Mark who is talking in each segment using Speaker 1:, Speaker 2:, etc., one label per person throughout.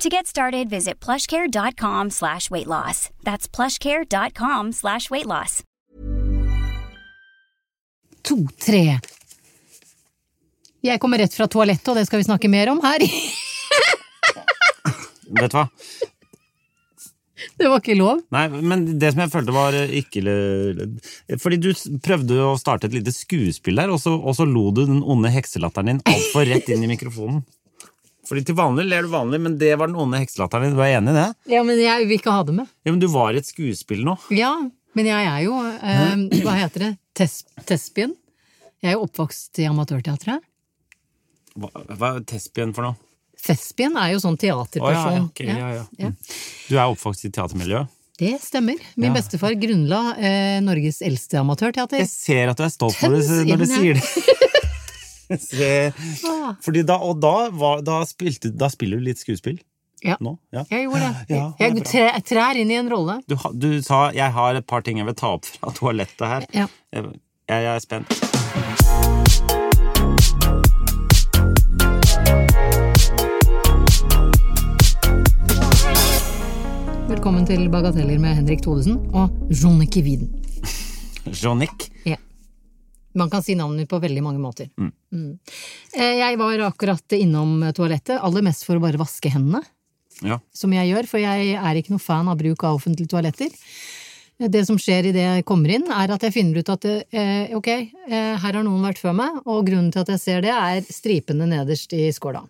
Speaker 1: To get started, visit plushcare.com slash weight loss. That's plushcare.com slash weight loss.
Speaker 2: to, tre. Jeg kommer rett fra toalettet, og det skal vi snakke mer om her.
Speaker 3: Vet du hva?
Speaker 2: Det var ikke lov.
Speaker 3: Nei, men det som jeg følte var eh, ikke le- Fordi du s- prøvde å starte et lite skuespill der, og så, og så lo du den onde hekselatteren din altfor rett inn i mikrofonen. Fordi til vanlig ler du vanlig, men det var den onde hekselatteren din. Du er enig i det?
Speaker 2: Ja, men jeg vil ikke ha det med.
Speaker 3: Ja, men du var i et skuespill nå.
Speaker 2: Ja, men jeg er jo, eh, hva heter det, Tes Tespien. Jeg er jo oppvokst i amatørteatret.
Speaker 3: Hva, hva er Tespien for noe?
Speaker 2: Thespien er jo sånn
Speaker 3: Å, ja, ja,
Speaker 2: teaterperson.
Speaker 3: ok, ja, ja.
Speaker 2: Ja,
Speaker 3: Du er oppvokst i teatermiljøet.
Speaker 2: Det stemmer. Min
Speaker 3: Ja.
Speaker 2: bestefar grunnla eh, Norges eldste amatørteater.
Speaker 3: Jeg ser at du er stolt når du,
Speaker 2: Tøms
Speaker 3: når du
Speaker 2: inn,
Speaker 3: sier det. Jeg ser-
Speaker 2: Ah,
Speaker 3: Fordi da, og da, var, da, spilte, da spiller du litt skuespill
Speaker 2: Ja.
Speaker 3: nå? Ja.
Speaker 2: Jeg gjorde det.
Speaker 3: Ja, det er
Speaker 2: jeg
Speaker 3: bra.
Speaker 2: trær, trær inn i en rolle.
Speaker 3: Du, ha- du sa 'jeg har et par ting jeg vil ta opp fra toalettet her'.
Speaker 2: Ja.
Speaker 3: Jeg, jeg er spent.
Speaker 2: Velkommen til Bagateller med Henrik Thodesen og Jonneke Widen.
Speaker 3: Jean-Nic.
Speaker 2: Ja. Man kan si navnet mitt på veldig mange måter. Mm. Eh, Jeg var akkurat innom toalettet, aller mest for å bare vaske hendene,
Speaker 3: Ja.
Speaker 2: som jeg gjør, for jeg er ikke noe fan av bruk av offentlige toaletter. Eh, Det som skjer idet jeg kommer inn, er at jeg finner ut at eh, ok, eh, her har noen vært før meg, og grunnen til at jeg ser det, er stripene nederst i skåla.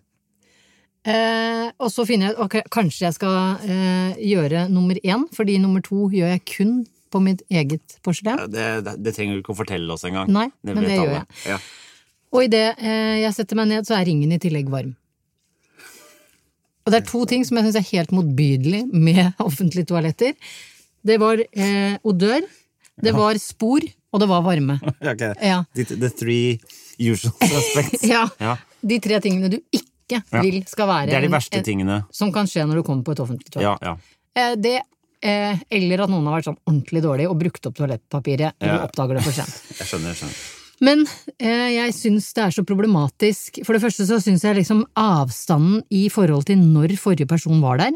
Speaker 2: Eh, og så finner jeg ok, kanskje jeg skal eh, gjøre nummer én, fordi nummer to gjør jeg kun på mitt eget porselen.
Speaker 3: Det, det, det trenger du ikke å fortelle oss engang.
Speaker 2: Nei, men
Speaker 3: vet
Speaker 2: det gjør
Speaker 3: alle. Ja.
Speaker 2: Og idet eh, jeg setter meg ned, så er ringen i tillegg varm. Og det er to ting som jeg syns er helt motbydelig med offentlige toaletter. Det var eh, odør, det var spor, og det var varme.
Speaker 3: Ok.
Speaker 2: Ja.
Speaker 3: The, the three usual suspects.
Speaker 2: Ja,
Speaker 3: Ja.
Speaker 2: De tre tingene du ikke
Speaker 3: Ja.
Speaker 2: vil skal være
Speaker 3: Det er de
Speaker 2: en-
Speaker 3: verste
Speaker 2: en-
Speaker 3: tingene.
Speaker 2: som kan skje når du kommer på et offentlig toalett.
Speaker 3: Ja, ja.
Speaker 2: Eh, det, eh, eller at noen har vært sånn ordentlig dårlig og brukt opp toalettpapiret, og
Speaker 3: Ja.
Speaker 2: du oppdager det for sent.
Speaker 3: Jeg skjønner. jeg skjønner.
Speaker 2: Men eh, jeg syns det er så problematisk. For det første så syns jeg liksom avstanden i forhold til når forrige person var der,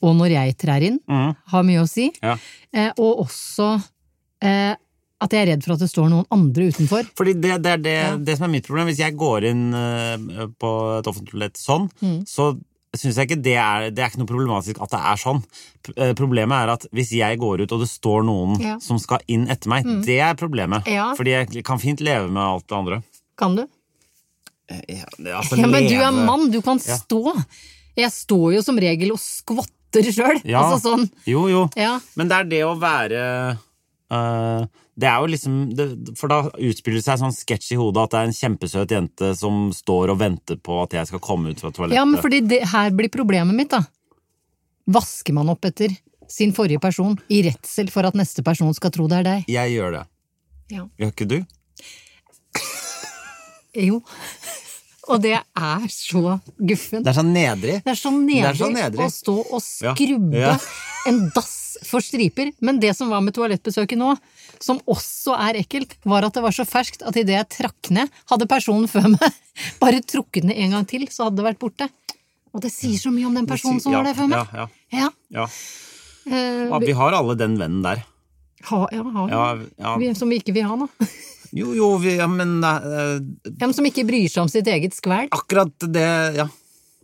Speaker 2: og når jeg trær inn,
Speaker 3: Mhm.
Speaker 2: har mye å si.
Speaker 3: Ja.
Speaker 2: Eh, og også eh, at jeg er redd for at det står noen andre utenfor.
Speaker 3: Fordi det, det er det, det som er mitt problem. Hvis jeg går inn eh, på et offentlig toalett sånn,
Speaker 2: Mm.
Speaker 3: så syns jeg ikke det er Det er ikke noe problematisk at det er sånn. P- eh, Problemet er at hvis jeg går ut, og det står noen
Speaker 2: Ja. Mm.
Speaker 3: som skal inn etter meg, det er problemet.
Speaker 2: Ja.
Speaker 3: Fordi jeg kan fint leve med alt det andre.
Speaker 2: Kan du?
Speaker 3: Ja, altså,
Speaker 2: Ja, men du
Speaker 3: leve-
Speaker 2: er mann, du kan
Speaker 3: Ja.
Speaker 2: stå. Jeg står jo som regel og skvatter sjøl.
Speaker 3: Ja.
Speaker 2: Altså sånn.
Speaker 3: Jo, jo.
Speaker 2: Ja.
Speaker 3: Men det er det å være eh, Det er jo liksom det, For da utspiller det seg en sånn sketsj i hodet at det er en kjempesøt jente som står og venter på at jeg skal komme ut fra toalettet.
Speaker 2: Ja, men fordi det her blir problemet mitt, da. Vasker man opp etter sin forrige person i redsel for at neste person skal tro det er deg?
Speaker 3: Jeg gjør det.
Speaker 2: Ja.
Speaker 3: Gjør ikke du?
Speaker 2: Jo. Og det er så guffen.
Speaker 3: Det er sånn nedrig.
Speaker 2: Det er så
Speaker 3: Det er så
Speaker 2: nedrig
Speaker 3: nedrig.
Speaker 2: å stå og
Speaker 3: Ja.
Speaker 2: skrubbe
Speaker 3: Ja.
Speaker 2: en dass for striper. Men det som var med toalettbesøket nå, som også er ekkelt, var at det var så ferskt at idet jeg trakk ned, hadde personen før meg bare trukket ned en gang til, så hadde det vært borte. Og det sier så mye om den personen som
Speaker 3: Ja,
Speaker 2: var der før meg.
Speaker 3: Ja, ja,
Speaker 2: Ja.
Speaker 3: ja.
Speaker 2: Eh,
Speaker 3: Ja, Vi har alle den vennen der.
Speaker 2: ha, ja, ha,
Speaker 3: Ja, ja.
Speaker 2: Vi, som vi ikke vil ha, da.
Speaker 3: Jo, jo, vi, ja, men eh,
Speaker 2: Ja, men som ikke bryr seg om sitt eget skvæl.
Speaker 3: akkurat det Ja.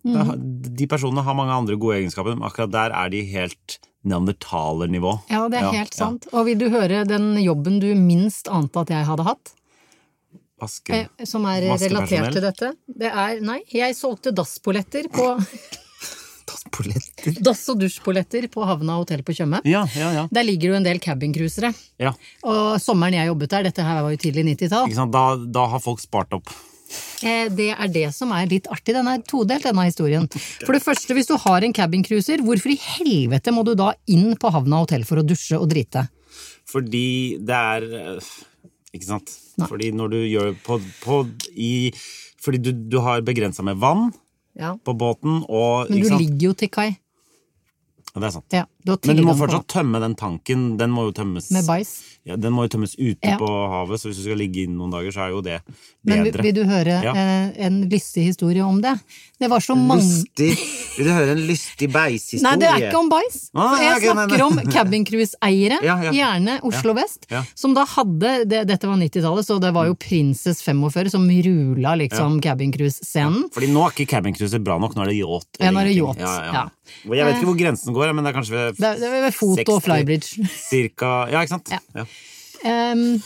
Speaker 2: Mm.
Speaker 3: Det har- De personene har mange andre gode egenskaper, men akkurat der er de helt neandertalernivå.
Speaker 2: Ja, det er
Speaker 3: Ja,
Speaker 2: helt
Speaker 3: ja.
Speaker 2: sant. Og vil du høre den jobben du minst ante at jeg hadde hatt?
Speaker 3: Vaske.
Speaker 2: eh, Som er
Speaker 3: Vaskepersonell.
Speaker 2: relatert til dette? Det er Nei, jeg solgte dasspolletter på
Speaker 3: Dasspolletter.
Speaker 2: Dass- og dusjpolletter på Havna hotell på Tjøme.
Speaker 3: Ja, ja, ja.
Speaker 2: Der ligger jo en del cabincruisere.
Speaker 3: ja.
Speaker 2: Og sommeren jeg jobbet der, dette her var jo tidlig 90-tall,
Speaker 3: Ikke sant? Da, da har folk spart opp.
Speaker 2: eh, det er det som er litt artig. Den er todelt, denne historien. For det første, hvis du har en cabincruiser, hvorfor i helvete må du da inn på Havna hotell for å dusje og drite?
Speaker 3: Fordi det er øh, Ikke sant? Fordi når du gjør på, på i Fordi du, du har begrensa med vann
Speaker 2: Ja.
Speaker 3: på båten, og
Speaker 2: Men
Speaker 3: ikke
Speaker 2: du
Speaker 3: sant?
Speaker 2: ligger jo til kai.
Speaker 3: Ja, det er sant.
Speaker 2: Ja, du har
Speaker 3: Men du må
Speaker 2: tilgang på
Speaker 3: fortsatt tømme den tanken. Den må jo tømmes
Speaker 2: Med bæsj.
Speaker 3: ja, Den må jo tømmes ute
Speaker 2: Ja.
Speaker 3: på havet, så hvis du skal ligge inne noen dager, så er jo det
Speaker 2: Men
Speaker 3: bedre.
Speaker 2: vil du høre
Speaker 3: Ja.
Speaker 2: eh, en lystig historie om det? Det var så mange
Speaker 3: Lystig Vil du høre en lystig beishistorie?
Speaker 2: Nei, det er ikke om bæsj.
Speaker 3: Ah,
Speaker 2: For
Speaker 3: ja,
Speaker 2: jeg
Speaker 3: ok, nei,
Speaker 2: snakker
Speaker 3: nei.
Speaker 2: om cabincruise-eiere,
Speaker 3: Ja, ja.
Speaker 2: gjerne Oslo vest,
Speaker 3: Ja. Mm.
Speaker 2: som da hadde det, Dette var 90-tallet, så det var jo Princess 45 som rula liksom cabincruise-scenen.
Speaker 3: Fordi nå er ikke cabincruiser bra nok, nå er det yacht.
Speaker 2: Ja, nå er det
Speaker 3: ingenting.
Speaker 2: yacht, ja. Eh.
Speaker 3: Og Jeg vet ikke hvor grensen går, men det er kanskje ved
Speaker 2: Det, det var ved Foto
Speaker 3: 60,
Speaker 2: og Flybridge.
Speaker 3: Cirka, ja, ikke sant?
Speaker 2: Ja.
Speaker 3: Ja.
Speaker 2: Ehm,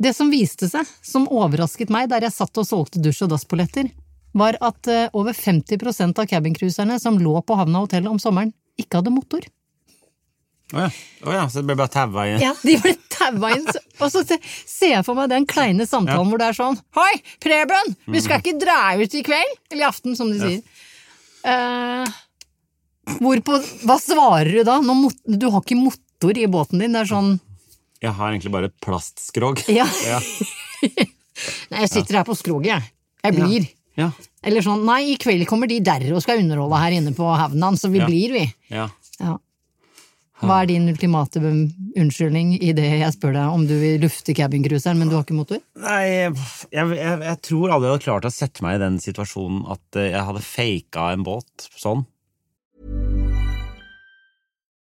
Speaker 2: det som viste seg, som overrasket meg der jeg satt og solgte dusj- og dasspolletter, var at eh, over 50 av cabincruiserne som lå på havna og hotellet om sommeren, ikke hadde motor.
Speaker 3: Å ja. Å ja, så det ble bare taua igjen.
Speaker 2: Ja, de ble taua inn. så- Og så se- ser jeg for meg den kleine samtalen hvor det er sånn Hei, Preben! Vi skal ikke dra ut i kveld? Eller i aften, som de sier. Eh, hvorpå Hva svarer du da? Nå mot, du har ikke motor i båten din. Det er sånn
Speaker 3: Jeg har egentlig bare et plastskrog.
Speaker 2: Ja.
Speaker 3: Ja.
Speaker 2: Nei, jeg sitter her på skroget, jeg. Jeg blir.
Speaker 3: Ja.
Speaker 2: Eller sånn Nei, i kveld kommer de der og skal underholde her inne på havnen, så vi
Speaker 3: Ja.
Speaker 2: blir, vi.
Speaker 3: ja.
Speaker 2: Ja. Hva er din ultimate be- unnskyldning i det jeg spør deg om du vil lufte cabincruiseren, men du har ikke motor?
Speaker 3: Nei, jeg, jeg, jeg tror aldri jeg hadde klart å sette meg i den situasjonen at eh, jeg hadde faka en båt sånn.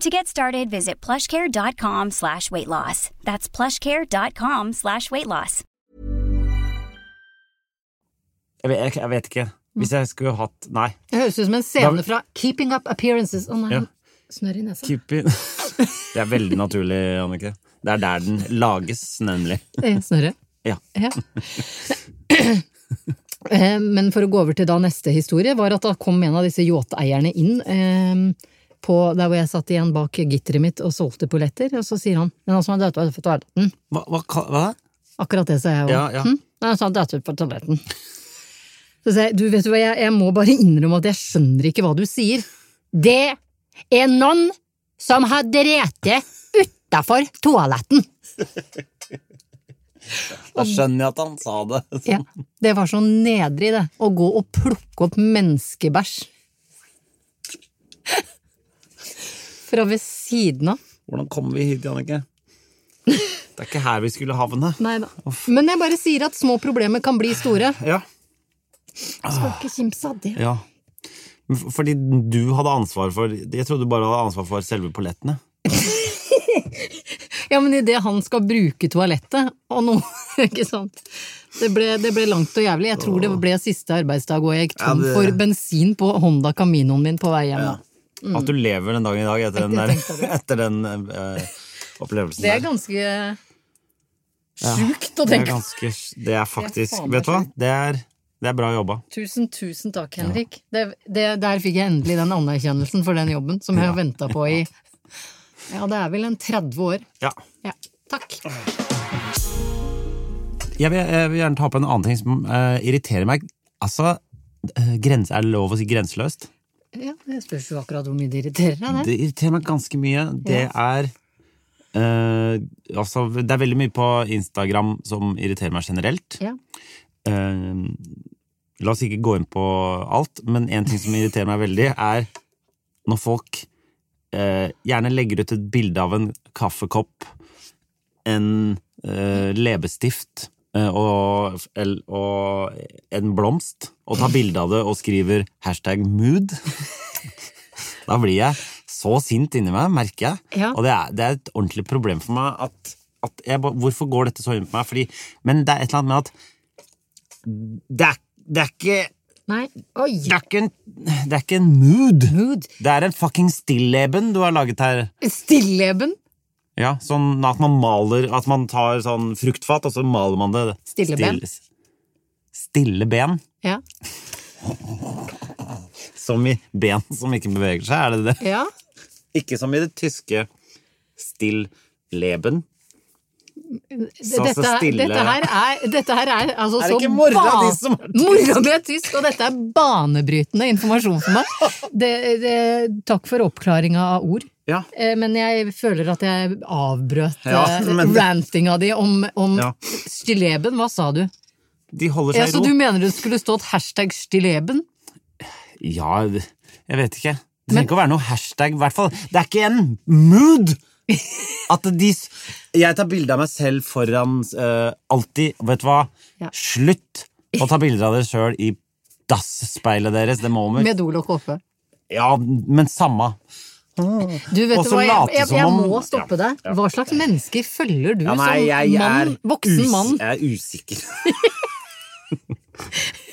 Speaker 1: To get started, visit plushcare.com slash weight loss. That's plushcare.com slash weight loss.
Speaker 3: Jeg vet, jeg, jeg vet ikke. Hvis jeg skulle hatt Nei.
Speaker 2: Det høres ut som en
Speaker 3: Da-
Speaker 2: scene fra Keeping Up Appearances. Å nei,
Speaker 3: Ja.
Speaker 2: snørr i nesa.
Speaker 3: Keep it. Det er veldig naturlig, Annike. Det er der den lages, nemlig.
Speaker 2: Eh, Snørre.
Speaker 3: Ja.
Speaker 2: Ja. Eh, Men for å gå over til da neste historie, var at da kom en av disse yachteierne inn eh, på der hvor jeg satt igjen bak gitteret mitt og solgte polletter, og så sier han Men han som har dødd på toaletten.
Speaker 3: Hva, hva, ka- hva?
Speaker 2: Akkurat det sa jeg òg.
Speaker 3: Ja, ja.
Speaker 2: Hm? Nei, han sa han datt ut på toaletten. Så sa jeg, du vet du hva, jeg, jeg må bare innrømme at jeg skjønner ikke hva du sier. Det er noen som har drete utafor toaletten!
Speaker 3: Da skjønner jeg at han sa det.
Speaker 2: Ja, det var så nedrig, det. Å gå og plukke opp menneskebæsj. Fra ved siden av.
Speaker 3: Hvordan kom vi hit, Jannicke? Det er ikke her vi skulle havne.
Speaker 2: Nei da. Men jeg bare sier at små problemer kan bli store.
Speaker 3: Ja.
Speaker 2: Skal ikke kimse av det.
Speaker 3: ja. Men f- Fordi du hadde ansvar for Jeg trodde du bare hadde ansvar for selve pollettene.
Speaker 2: Ja, men idet han skal bruke toalettet og noe Ikke sant? Det ble, det ble langt og jævlig. Jeg tror det ble siste arbeidsdag, og jeg gikk tom
Speaker 3: Ja, det-
Speaker 2: for bensin på Honda Caminoen min på vei hjem. da.
Speaker 3: At du lever den dagen i dag etter den,
Speaker 2: Jeg tenkte
Speaker 3: der, etter den eh, opplevelsen
Speaker 2: Det er
Speaker 3: der.
Speaker 2: ganske sjukt å
Speaker 3: Det er
Speaker 2: tenke på.
Speaker 3: ganske Det er faktisk
Speaker 2: faen meg
Speaker 3: Vet du hva? Det er, det er bra jobba.
Speaker 2: Tusen, tusen takk, Henrik. Det, det, der fikk jeg endelig den anerkjennelsen for den jobben som jeg har venta på i Ja, det er vel en 30 år.
Speaker 3: Ja.
Speaker 2: Ja. Takk.
Speaker 3: Jeg vil, jeg vil gjerne ta opp en annen ting som eh, irriterer meg. Altså, eh, grense, er det lov å si grenseløst?
Speaker 2: Ja, det spørs jo akkurat hvor mye det irriterer deg, det.
Speaker 3: Det irriterer meg ganske mye. Det er eh, altså, det er veldig mye på Instagram som irriterer meg generelt.
Speaker 2: Ja.
Speaker 3: Eh, la oss ikke gå inn på alt, men en ting som irriterer meg veldig, er når folk eh, gjerne legger ut et bilde av en kaffekopp, en eh, leppestift, eh, eh, og, el- og en blomst, og tar bilde av det og skriver hashtag mood. Da blir jeg så sint inni meg, merker jeg.
Speaker 2: Ja.
Speaker 3: Og det er, det er et ordentlig problem for meg at, at jeg, ba- Hvorfor går dette så inn på meg? Fordi, men det er et eller annet med at det er, det er ikke
Speaker 2: Nei. Oi!
Speaker 3: det er ikke en, det er ikke en mood.
Speaker 2: Mood.
Speaker 3: Det er en fucking stilleben du har laget her.
Speaker 2: Stilleben.
Speaker 3: Ja, sånn at man maler At man tar sånn fruktfat, og så maler man det
Speaker 2: Stille ben.
Speaker 3: Still, stille ben.
Speaker 2: Ja.
Speaker 3: Som i ben som ikke beveger seg, er det det?
Speaker 2: ja.
Speaker 3: Ikke som i det tyske stilleben. Så- så
Speaker 2: Dette,
Speaker 3: stille.
Speaker 2: dette her er, dette her er altså
Speaker 3: Er det
Speaker 2: så
Speaker 3: ikke mora
Speaker 2: ba-
Speaker 3: di som er tysk?
Speaker 2: Mora mi er tysk, og dette er banebrytende informasjon for meg. Det, det, takk for oppklaringa av ord.
Speaker 3: Ja.
Speaker 2: Eh, Men jeg føler at jeg avbrøt
Speaker 3: Ja,
Speaker 2: eh,
Speaker 3: men-
Speaker 2: rantinga di om, om
Speaker 3: Ja.
Speaker 2: stilleben. Hva sa du?
Speaker 3: De holder
Speaker 2: Ja,
Speaker 3: seg
Speaker 2: så du
Speaker 3: i ro.
Speaker 2: mener det skulle stått hashtag stilleben?
Speaker 3: Ja, det- jeg vet ikke. Det trenger ikke å være noe hashtag, i hvert fall. Det er ikke en mood! At de s- Jeg tar bilde av meg selv foran eh, alltid. Vet du hva?
Speaker 2: Ja.
Speaker 3: Slutt å ta bilder av dere sjøl i dasspeilet deres. Det må vi
Speaker 2: Med dolokk oppe.
Speaker 3: Ja, men samme.
Speaker 2: Du vet
Speaker 3: Og
Speaker 2: du
Speaker 3: så
Speaker 2: hva, jeg,
Speaker 3: late
Speaker 2: jeg,
Speaker 3: som
Speaker 2: jeg
Speaker 3: om-
Speaker 2: må stoppe
Speaker 3: Ja,
Speaker 2: deg. Hva slags mennesker følger du
Speaker 3: Ja, nei, jeg
Speaker 2: som mann,
Speaker 3: er
Speaker 2: voksen
Speaker 3: us-
Speaker 2: mann?
Speaker 3: Jeg er usikker.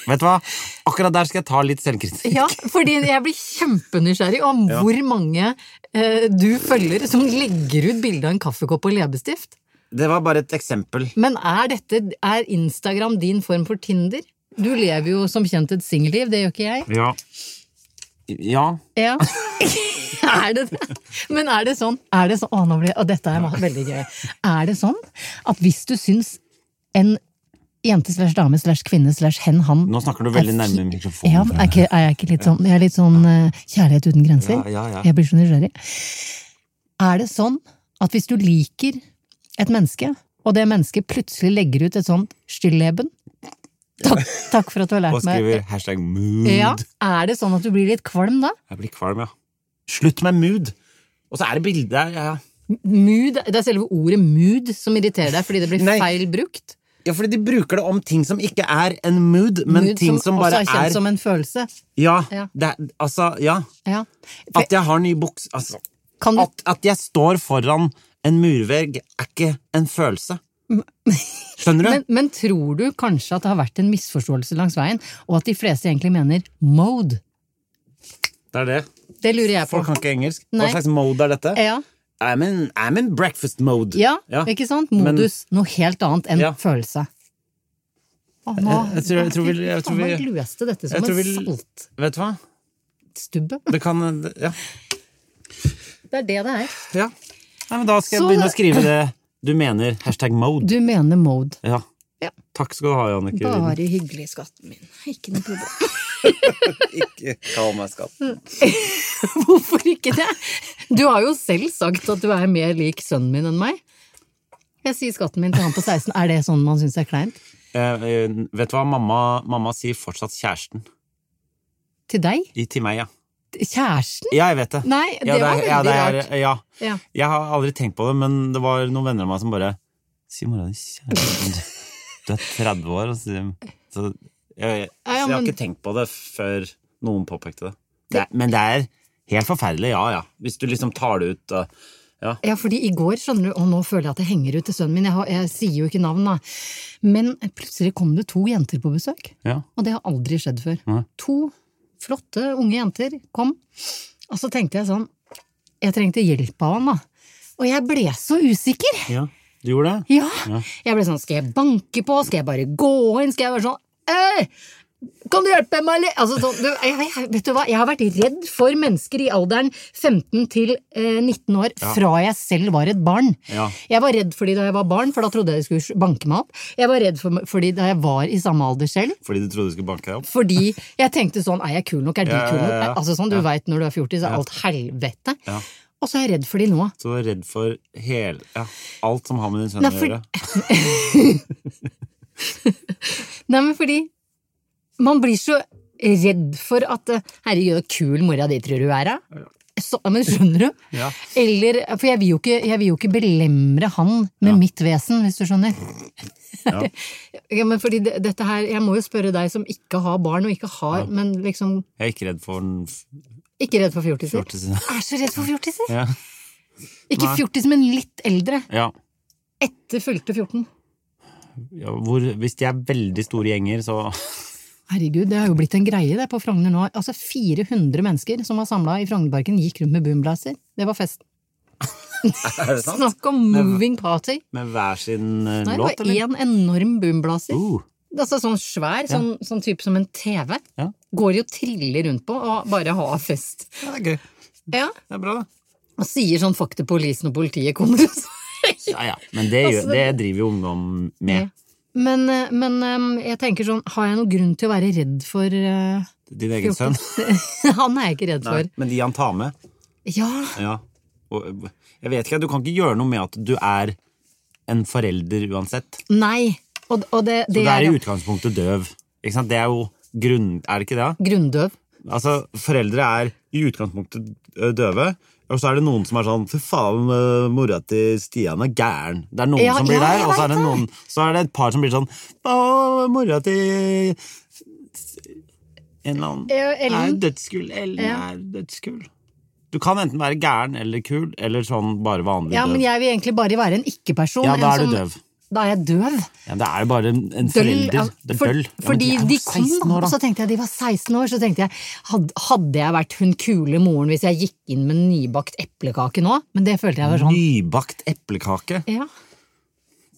Speaker 3: Vet du hva? Akkurat der skal jeg ta litt selvkritikk.
Speaker 2: Ja, fordi jeg blir kjempenysgjerrig om hvor mange eh, du følger som legger ut bilde av en kaffekopp og leppestift.
Speaker 3: Det var bare et eksempel.
Speaker 2: Men er, dette, er Instagram din form for Tinder? Du lever jo som kjent et singelliv, det gjør ikke jeg.
Speaker 3: Ja. Ja.
Speaker 2: Ja. er det det? Men er det sånn, er det sånn å, nå ble, å, dette er veldig gøy. Er det sånn at hvis du syns en jente slash dame slash kvinne slash hen han
Speaker 3: Nå snakker du veldig
Speaker 2: er fi-
Speaker 3: nærme mikrofonen.
Speaker 2: Ja, er, ikke, er jeg ikke litt sånn Jeg er litt sånn eh, kjærlighet uten grenser?
Speaker 3: Ja, ja, ja.
Speaker 2: Jeg blir så nysgjerrig. Er det sånn at hvis du liker et menneske, og det mennesket plutselig legger ut et sånt stilleben takk, takk for at du har
Speaker 3: Og
Speaker 2: lært meg
Speaker 3: skriver hashtag mood.
Speaker 2: ja, Er det sånn at du blir litt kvalm da?
Speaker 3: Jeg blir kvalm, ja. Slutt med mood! Og så er det bilder ja.
Speaker 2: Mood, det er selve ordet mood som irriterer deg fordi det blir
Speaker 3: Nei.
Speaker 2: feil brukt.
Speaker 3: ja, fordi de bruker det om ting som ikke er en mood, men
Speaker 2: mood
Speaker 3: ting som,
Speaker 2: også
Speaker 3: bare
Speaker 2: er kjent
Speaker 3: er
Speaker 2: som en følelse.
Speaker 3: Ja.
Speaker 2: Ja.
Speaker 3: Det er, altså, ja.
Speaker 2: Ja.
Speaker 3: At jeg har ny buks altså,
Speaker 2: Kan du,
Speaker 3: at, at jeg står foran en murvegg, er ikke en følelse. Skjønner du?
Speaker 2: men, men tror du kanskje at det har vært en misforståelse langs veien, og at de fleste egentlig mener mode?
Speaker 3: det er det.
Speaker 2: Det lurer jeg på.
Speaker 3: Folk kan ikke engelsk.
Speaker 2: Nei.
Speaker 3: Hva slags mode er dette?
Speaker 2: Ja,
Speaker 3: I'm in, I'm in breakfast mode.
Speaker 2: ja, ikke sant?
Speaker 3: Men-
Speaker 2: Modus. Noe helt annet enn
Speaker 3: Ja.
Speaker 2: følelse. Å, nå-
Speaker 3: Jeg- jeg tror- jeg tror vi- jeg tror vi-
Speaker 2: Faen, nå løste dette
Speaker 3: jeg
Speaker 2: som en
Speaker 3: tror vi-
Speaker 2: saltstubbe.
Speaker 3: Vet du hva? Det kan Ja.
Speaker 2: Det er det det er.
Speaker 3: ja. Nei, men da skal jeg
Speaker 2: Så-
Speaker 3: begynne å skrive det du mener. Hashtag mode.
Speaker 2: Du mener mode.
Speaker 3: Ja.
Speaker 2: Ja.
Speaker 3: Takk skal du ha, Jannicke.
Speaker 2: Bare hyggelig, skatten min. Ikke noe problem.
Speaker 3: Ikke kall meg skatt.
Speaker 2: Hvorfor ikke det? Du har jo selv sagt at du er mer lik sønnen min enn meg. Jeg sier skatten min til han på 16. Er det sånn man syns er kleint?
Speaker 3: Eh, eh, vet du hva mamma, mamma sier fortsatt kjæresten?
Speaker 2: Til deg?
Speaker 3: I, til meg, ja.
Speaker 2: Kjæresten?
Speaker 3: Ja, jeg vet det.
Speaker 2: Nei, det,
Speaker 3: ja,
Speaker 2: var
Speaker 3: er-
Speaker 2: veldig
Speaker 3: ja, det er-
Speaker 2: rart.
Speaker 3: Ja.
Speaker 2: Ja.
Speaker 3: Jeg har aldri tenkt på det, men det var noen venner av meg som bare Si mora di kjæresten din, Du er 30 år, og sier så, jeg, så
Speaker 2: Ja, ja,
Speaker 3: jeg har
Speaker 2: men-
Speaker 3: ikke tenkt på det før noen påpekte det. det er- men det er helt forferdelig, ja ja. Hvis du liksom tar det ut og
Speaker 2: Ja, fordi i går, skjønner du, og nå føler jeg at jeg henger ut til sønnen min, jeg, har, jeg sier jo ikke navn, da. Men plutselig kom det to jenter på besøk,
Speaker 3: ja.
Speaker 2: og det har aldri skjedd før.
Speaker 3: Nei.
Speaker 2: To flotte unge jenter kom, og så tenkte jeg sånn Jeg trengte hjelp av han, da. Og jeg ble så usikker!
Speaker 3: ja. Du gjorde det?
Speaker 2: Ja. Jeg ble sånn, skal jeg banke på? Skal jeg bare gå inn? Skal jeg være sånn, «Øy, kan du hjelpe meg, eller? Altså, sånn, du, jeg, jeg, vet du hva, jeg har vært redd for mennesker i alderen 15 til eh, 19 år fra jeg selv var et barn.
Speaker 3: Ja.
Speaker 2: Jeg var redd fordi da jeg var barn, for da trodde jeg de skulle banke meg opp. Jeg var redd for, fordi da jeg var i samme alder selv,
Speaker 3: Fordi du trodde du skulle banke deg opp?
Speaker 2: fordi jeg tenkte sånn, er jeg kul nok, er de
Speaker 3: Ja, ja,
Speaker 2: kul nok?
Speaker 3: ja, ja.
Speaker 2: Altså sånn, du vet veit når du er 40, så er alt helvete.
Speaker 3: Ja.
Speaker 2: Og så er jeg redd for de nå.
Speaker 3: Så du var redd for hele ja, alt som har med din sønn
Speaker 2: Nei,
Speaker 3: å
Speaker 2: for-
Speaker 3: gjøre?
Speaker 2: Nei, men fordi man blir så redd for at eh, herregud, kul mora di tror du er, da. Så, ja, men skjønner du?
Speaker 3: Ja.
Speaker 2: Eller, for jeg vil, jo ikke, jeg vil jo ikke belemre han med mitt vesen, hvis du skjønner. Ja. men fordi det, dette her, jeg må jo spørre deg som ikke har barn, og ikke har, men liksom
Speaker 3: Jeg er ikke redd for den f-
Speaker 2: ikke redd for fjortiser.
Speaker 3: Fjortiser.
Speaker 2: Jeg er så redd for fjortiser!
Speaker 3: Ja.
Speaker 2: Ikke fjortis, men litt eldre.
Speaker 3: ja.
Speaker 2: Etter fylte 14.
Speaker 3: ja hvor, hvis de er veldig store gjenger, så
Speaker 2: Herregud, det har jo blitt en greie det på Frogner nå. Altså 400 mennesker som var samla i Frognerparken, gikk rundt med boomblazer. Det var festen.
Speaker 3: Er det
Speaker 2: Snakk om moving party!
Speaker 3: Med hver sin eh,
Speaker 2: Nei, det
Speaker 3: låt,
Speaker 2: var én enorm boomblazer.
Speaker 3: Uh,
Speaker 2: Altså sånn svær, sånn, sånn type som en TV.
Speaker 3: Ja.
Speaker 2: Går jo og triller rundt på og bare har fest.
Speaker 3: ja, det er gøy.
Speaker 2: Ja,
Speaker 3: Det er bra, det.
Speaker 2: Og sier sånn fuck til politiet når politiet kommer ut.
Speaker 3: Ja, ja. Men det, gjør,
Speaker 2: Altså,
Speaker 3: det
Speaker 2: det-
Speaker 3: driver jo ungdom med.
Speaker 2: Men, eh, men eh, jeg tenker sånn, har jeg noen grunn til å være redd for eh,
Speaker 3: Din egen sønn.
Speaker 2: Han er jeg ikke redd
Speaker 3: Nei,
Speaker 2: for.
Speaker 3: men de han tar med.
Speaker 2: Ja,
Speaker 3: Ja. Og, eh, jeg vet ikke, du kan ikke gjøre noe med at du er en forelder uansett.
Speaker 2: nei. Og, og det,
Speaker 3: Så
Speaker 2: det
Speaker 3: du er
Speaker 2: er
Speaker 3: i
Speaker 2: jo
Speaker 3: utgangspunktet døv. Ikke sant? Det er jo grunn... Er det ikke det? da?
Speaker 2: grunndøv.
Speaker 3: Altså, Foreldre er i utgangspunktet ø, døve, og så er det noen som er sånn 'fy faen, ø, mora til Stian er gæren'. Det er noen
Speaker 2: Ja,
Speaker 3: som blir
Speaker 2: ja, jeg
Speaker 3: der, og så er, det
Speaker 2: vet det.
Speaker 3: noen, så er det et par som blir sånn 'å, mora til En eller annen
Speaker 2: Ja, Ellen.
Speaker 3: er dødskul. Ellen
Speaker 2: Ja.
Speaker 3: er dødskul. Du kan enten være gæren eller kul, eller sånn bare vanlig
Speaker 2: Ja,
Speaker 3: døv.
Speaker 2: men jeg vil egentlig bare være en ikke-person.
Speaker 3: Ja, da
Speaker 2: en
Speaker 3: er du
Speaker 2: som-
Speaker 3: døv.
Speaker 2: Da er jeg døv.
Speaker 3: Ja, det er jo bare en, en
Speaker 2: ja,
Speaker 3: forelder. Det er
Speaker 2: altså, for,
Speaker 3: døll.
Speaker 2: Fordi
Speaker 3: ja, men
Speaker 2: de
Speaker 3: er jo
Speaker 2: kom, altså,
Speaker 3: 16 år,
Speaker 2: og så tenkte jeg de var 16 år, så tenkte jeg had, Hadde jeg vært hun kule moren hvis jeg gikk inn med nybakt eplekake nå? Men det følte jeg var sånn.
Speaker 3: Nybakt eplekake.
Speaker 2: Ja.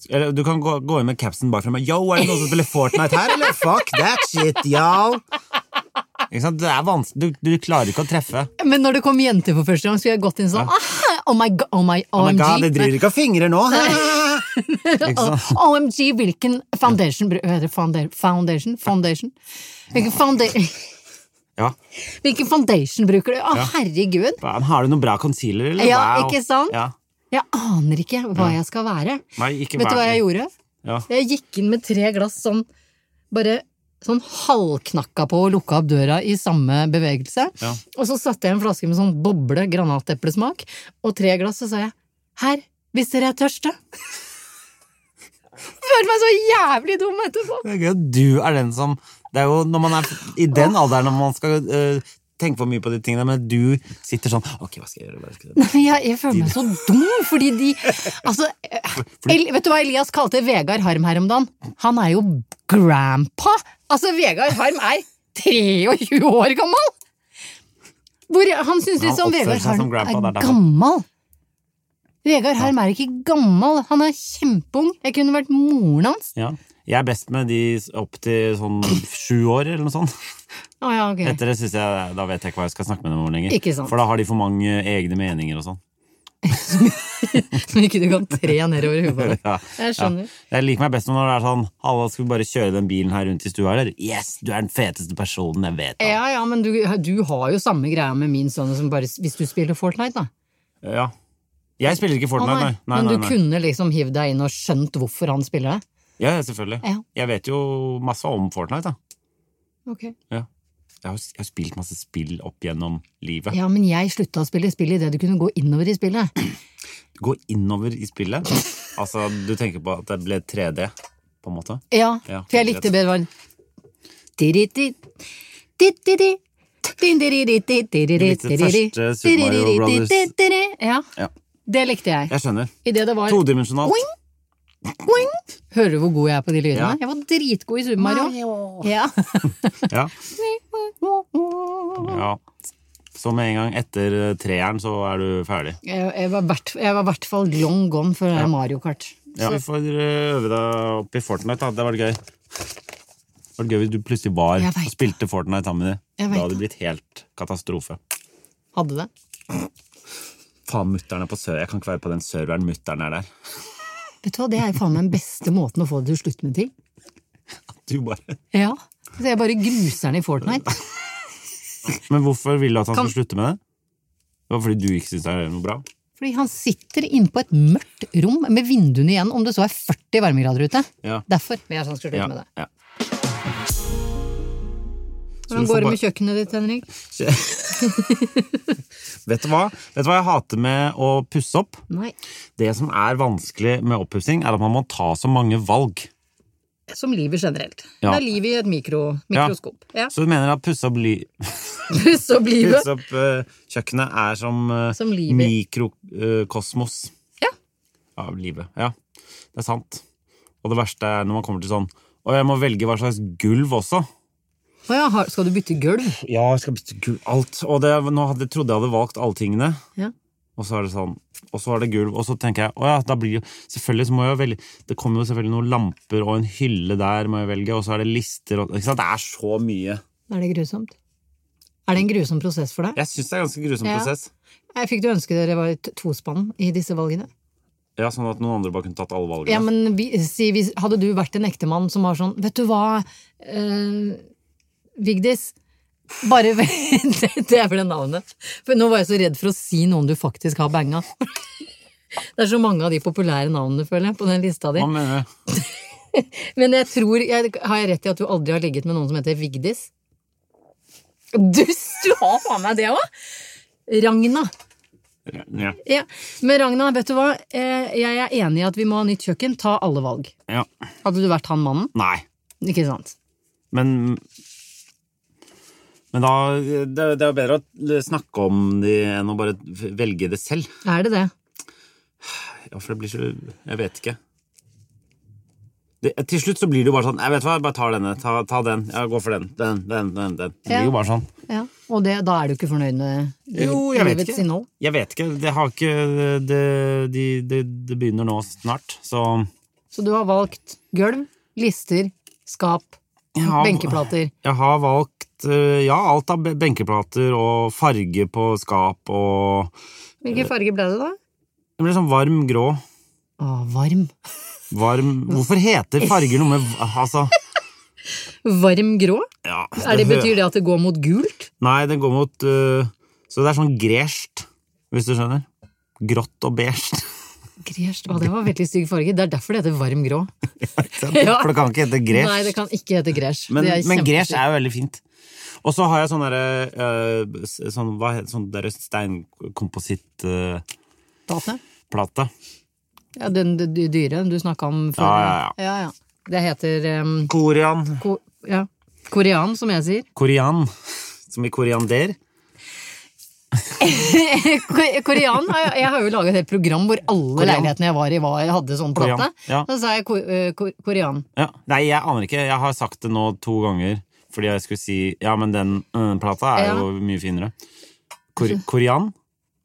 Speaker 3: Eller, du kan gå, gå inn med capsen bak fremme. Yo, er det noen som spiller Fortnite her, eller? Fuck that shit, y'all! Ikke sant? Det er vanskelig. Du, du klarer ikke å treffe.
Speaker 2: Men når det kom jenter for første gang, skulle jeg gått inn sånn ah, Oh my god, oh my
Speaker 3: Oh my
Speaker 2: OMG.
Speaker 3: god, de driver ikke av fingre nå! Ikke sant?
Speaker 2: Oh, OMG, hvilken foundation br- Hva heter det? Founda- Foundation? Foundation? Hvilken, founda
Speaker 3: Ja.
Speaker 2: hvilken foundation bruker du? Å, herregud.
Speaker 3: Faen, Har du noen bra concealer, eller?
Speaker 2: Ja,
Speaker 3: Wow.
Speaker 2: ikke sant?
Speaker 3: Ja.
Speaker 2: Jeg aner ikke hva jeg skal være.
Speaker 3: Nei, ikke
Speaker 2: Vet du hva
Speaker 3: vær-
Speaker 2: jeg gjorde?
Speaker 3: Ja.
Speaker 2: Jeg gikk inn med tre glass sånn, bare sånn halvknakka på og lukka opp døra i samme bevegelse.
Speaker 3: Ja.
Speaker 2: Og så satte jeg en flaske med sånn boble granateplesmak, og tre glass, så sa jeg her, hvis dere er tørste. Følte meg så jævlig dum etterpå.
Speaker 3: Det er gøy at du er den som Det er jo når man er i den alderen når man skal eh, tenke for mye på de tingene, men du sitter sånn Ok, hva skal jeg gjøre? Hva skal jeg gjøre?
Speaker 2: Nei, men jeg, jeg føler meg så dum, fordi de Altså, El, vet du hva Elias kalte Vegard Harm her om dagen? Han er jo grandpa! Altså, Vegard Harm er 23 år gammel! Hvor han syns
Speaker 3: Han
Speaker 2: liksom
Speaker 3: oppfører
Speaker 2: Vegard
Speaker 3: seg som
Speaker 2: Harm
Speaker 3: grandpa, det er
Speaker 2: er
Speaker 3: derfor.
Speaker 2: gammel! Vegard Harm er ikke gammel, han er kjempeung. Jeg kunne vært moren hans.
Speaker 3: Ja. Jeg er best med de opp til sånn sju år, eller noe sånt.
Speaker 2: Å ja, ok.
Speaker 3: Etter det synes jeg, Da vet jeg ikke hva jeg skal snakke med dem om lenger.
Speaker 2: Ikke sant.
Speaker 3: For da har de for mange egne meninger og sånn.
Speaker 2: Som ikke du kan tre nedover huet på deg.
Speaker 3: Ja.
Speaker 2: Jeg skjønner.
Speaker 3: Jeg liker meg best når det er sånn Halla, skal vi bare kjøre den bilen her rundt i stua, eller? Yes, du er den feteste personen jeg vet om.
Speaker 2: Ja, ja, men du, du har jo samme greia med min sønn som bare Hvis du spiller Fortnite, da.
Speaker 3: Ja. Jeg spiller ikke
Speaker 2: Å,
Speaker 3: Fortnite, nei. nei,
Speaker 2: Men
Speaker 3: nei,
Speaker 2: du
Speaker 3: nei.
Speaker 2: kunne liksom hivd deg inn og skjønt hvorfor han spiller det?
Speaker 3: Ja, ja, selvfølgelig.
Speaker 2: Ja.
Speaker 3: Jeg vet jo masse om Fortnite, da.
Speaker 2: Ok.
Speaker 3: Ja. Jeg har, jeg har spilt masse spill opp gjennom livet.
Speaker 2: Ja, men jeg slutta å spille spill idet du kunne gå innover i spillet.
Speaker 3: Gå innover i spillet. Altså, du tenker på at det ble 3D, på en måte.
Speaker 2: Ja,
Speaker 3: Ja,
Speaker 2: for jeg
Speaker 3: greit.
Speaker 2: likte bedre var Di-di-di, di-di-di, din-di-di-di, di-di-di,
Speaker 3: likte det første Super Mario
Speaker 2: di-di-di,
Speaker 3: Brothers.
Speaker 2: di-di-di. Ja,
Speaker 3: Ja.
Speaker 2: det likte jeg.
Speaker 3: Jeg skjønner.
Speaker 2: Idet det var
Speaker 3: Todimensjonalt.
Speaker 2: Oing, oing. Hører du hvor god jeg er på de lydene?
Speaker 3: Ja.
Speaker 2: Jeg var dritgod i Super Mario. Ja.
Speaker 3: Ja. Ja. Så med en gang etter eh, treeren, så er du ferdig.
Speaker 2: Jeg jeg var hvert- jeg var i hvert fall long gone for Mario Kart.
Speaker 3: Ja, vi får eh, øve deg opp i Fortnite, da. Det var gøy. Det var gøy hvis du plutselig var
Speaker 2: Jeg vet
Speaker 3: og spilte Fortnite sammen med dem.
Speaker 2: Jeg
Speaker 3: Da
Speaker 2: vet
Speaker 3: hadde det
Speaker 2: det.
Speaker 3: blitt helt katastrofe.
Speaker 2: Hadde det.
Speaker 3: Faen, mutter'n er på server. Jeg kan ikke være på den serveren mutter'n er der.
Speaker 2: Vet du hva, Det er faen meg den beste måten å få det til å slutte med til.
Speaker 3: Du bare...
Speaker 2: Ja. Så jeg bare gruser den i Fortnite.
Speaker 3: Men hvorfor vil du at han
Speaker 2: Kan-
Speaker 3: skal slutte med det? Det var fordi du ikke syns det er noe bra?
Speaker 2: Fordi han sitter inne på et mørkt rom med vinduene igjen, om det så er 40 varmegrader ute.
Speaker 3: Ja.
Speaker 2: Derfor vil jeg at han skal slutte
Speaker 3: Ja,
Speaker 2: med det.
Speaker 3: ja. du
Speaker 2: Hvordan
Speaker 3: får
Speaker 2: går det
Speaker 3: bare-
Speaker 2: med kjøkkenet ditt, Henrik?
Speaker 3: Vet du hva? Vet du hva jeg hater med å pusse opp?
Speaker 2: Nei.
Speaker 3: Det som er vanskelig med oppussing, er at man må ta så mange valg.
Speaker 2: Som livet generelt.
Speaker 3: Ja.
Speaker 2: Det er livet i et mikro,
Speaker 3: Ja.
Speaker 2: mikroskop. Ja.
Speaker 3: Så du mener at pusse opp, li
Speaker 2: Puss opp livet.
Speaker 3: pusse opp eh, kjøkkenet er som, eh,
Speaker 2: Som livet.
Speaker 3: mikrokosmos
Speaker 2: Ja.
Speaker 3: av livet? Ja, det er sant. Og det verste er når man kommer til sånn Og jeg må velge hva slags gulv også.
Speaker 2: Å ja, har- skal du bytte gulv?
Speaker 3: Ja, jeg skal bytte gulv. Alt. Og det, nå hadde, trodde jeg hadde valgt alle tingene.
Speaker 2: Ja.
Speaker 3: Og så er det sånn, og så er det gulv, og så tenker jeg å ja, da blir jo Selvfølgelig så må jeg jo velge Det kommer jo selvfølgelig noen lamper og en hylle der, må jeg velge, og så er det lister og ikke sant? Det er så mye.
Speaker 2: Er det grusomt? Er det en grusom prosess for deg?
Speaker 3: Jeg syns det er en ganske grusom
Speaker 2: Ja.
Speaker 3: prosess.
Speaker 2: Jeg fikk du ønske dere var et tospann i disse valgene?
Speaker 3: Ja, Sånn at noen andre bare kunne tatt alle valgene.
Speaker 2: Ja, men vi, si, hvis- hadde du vært en ektemann som var sånn, vet du hva, eh, Vigdis, bare vent, det er vel det navnet. For nå var jeg så redd for å si noen du faktisk har banga. Det er så mange av de populære navnene, føler jeg, på den lista di.
Speaker 3: Hva mener du?
Speaker 2: Men jeg tror, jeg, har jeg rett i at du aldri har ligget med noen som heter Vigdis? Dust, du har faen meg det òg! Ragna.
Speaker 3: Ja.
Speaker 2: Ja. Men Ragna, vet du hva? Eh, Jeg er enig i at vi må ha nytt kjøkken. Ta alle valg.
Speaker 3: ja.
Speaker 2: Hadde du vært han mannen?
Speaker 3: Nei.
Speaker 2: Ikke sant?
Speaker 3: Men Men da Det, det er jo bedre å snakke om de enn å bare velge det selv.
Speaker 2: Er det det?
Speaker 3: Ja, for det blir så Jeg vet ikke. Det, til slutt så blir det jo bare sånn Jeg vet hva, jeg bare tar denne. Ta, ta den. Ja, gå for den. Den, den, den. den. Det
Speaker 2: Ja.
Speaker 3: blir jo bare sånn.
Speaker 2: Ja. Og det, da er du ikke fornøyd med liv,
Speaker 3: Jo, jeg vet
Speaker 2: livets
Speaker 3: ikke.
Speaker 2: innhold?
Speaker 3: Jeg vet ikke. Det har ikke Det, de, det, det begynner nå snart, så
Speaker 2: Så du har valgt gulv, lister, skap,
Speaker 3: Jeg har-
Speaker 2: benkeplater.
Speaker 3: Jeg har valgt eh, ja, alt av be- benkeplater og farge på skap og
Speaker 2: Hvilken farge ble det, da?
Speaker 3: Det blir sånn varm grå.
Speaker 2: Å, varm.
Speaker 3: Varm Hvorfor heter farger noe med Altså,
Speaker 2: Varm grå?
Speaker 3: ja
Speaker 2: Er det,
Speaker 3: hø-
Speaker 2: betyr det at det går mot gult?
Speaker 3: Nei, den går mot eh, Så det er sånn gresjt, hvis du skjønner. Grått og beige.
Speaker 2: Gresj. Å, det var veldig stygg farge. Det er derfor det heter varm grå. Ja.
Speaker 3: For det kan ikke hete gresj.
Speaker 2: Nei, det kan ikke hete gresj.
Speaker 3: Men,
Speaker 2: Det er
Speaker 3: men gresj
Speaker 2: kjempestygt.
Speaker 3: er jo veldig fint. Og så har jeg sånn derre eh, s- sånn, Hva heter sånn derre steinkomposittplate.
Speaker 2: Data. Ja, den d- d- dyre du snakka om før.
Speaker 3: Ja, ja,
Speaker 2: ja. ja, Det heter em,
Speaker 3: Korean.
Speaker 2: ko ja. korean, som jeg sier.
Speaker 3: Korean. Som i koriander.
Speaker 2: Ko- korean, har jeg, jeg har jo laga et helt program hvor alle leilighetene jeg var i, var, hadde sånn
Speaker 3: Korean,
Speaker 2: plate.
Speaker 3: ja.
Speaker 2: Da sa jeg ko eh, ko korean.
Speaker 3: Ja. Nei, jeg aner ikke. Jeg har sagt det nå to ganger fordi jeg skulle si Ja, men den eh, plata er
Speaker 2: Ja.
Speaker 3: jo mye finere. Kor korean?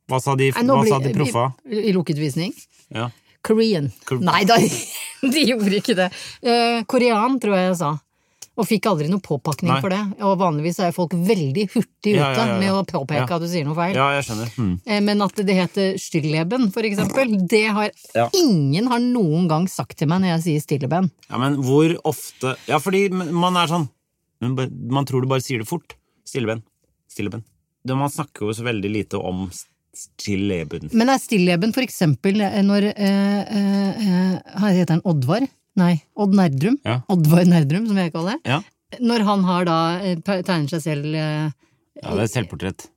Speaker 3: Hva sa de,
Speaker 2: Nei, nå
Speaker 3: hva sa
Speaker 2: blir-
Speaker 3: de proffa?
Speaker 2: I, I lukket visning.
Speaker 3: Ja.
Speaker 2: Korean.
Speaker 3: Kor-
Speaker 2: Nei da, de gjorde ikke det. Eh, korean, tror jeg jeg sa. Og fikk aldri noe påpakning
Speaker 3: Nei.
Speaker 2: for det. Og vanligvis er jo folk veldig hurtig ute
Speaker 3: Ja, ja, ja, ja.
Speaker 2: med å påpeke
Speaker 3: Ja.
Speaker 2: at du sier noe feil.
Speaker 3: ja, jeg skjønner. Hmm.
Speaker 2: Eh, Men at det heter stilleben, for eksempel, det har
Speaker 3: Ja.
Speaker 2: ingen har noen gang sagt til meg når jeg sier stilleben.
Speaker 3: Ja, men hvor ofte Ja, fordi man er sånn men bare- Man tror du bare sier det fort. Stilleben. Stilleben. Det- Man snakker jo så veldig lite om s- stilleben.
Speaker 2: Men er stilleben for eksempel eh, når eh, eh, eh, Her heter han Oddvar. Nei, Odd Nerdrum.
Speaker 3: Ja.
Speaker 2: Oddvar Nerdrum, som jeg kaller det.
Speaker 3: Ja,
Speaker 2: Når han har da eh, pe- tegner seg selv eh,
Speaker 3: ja det er selvportrett.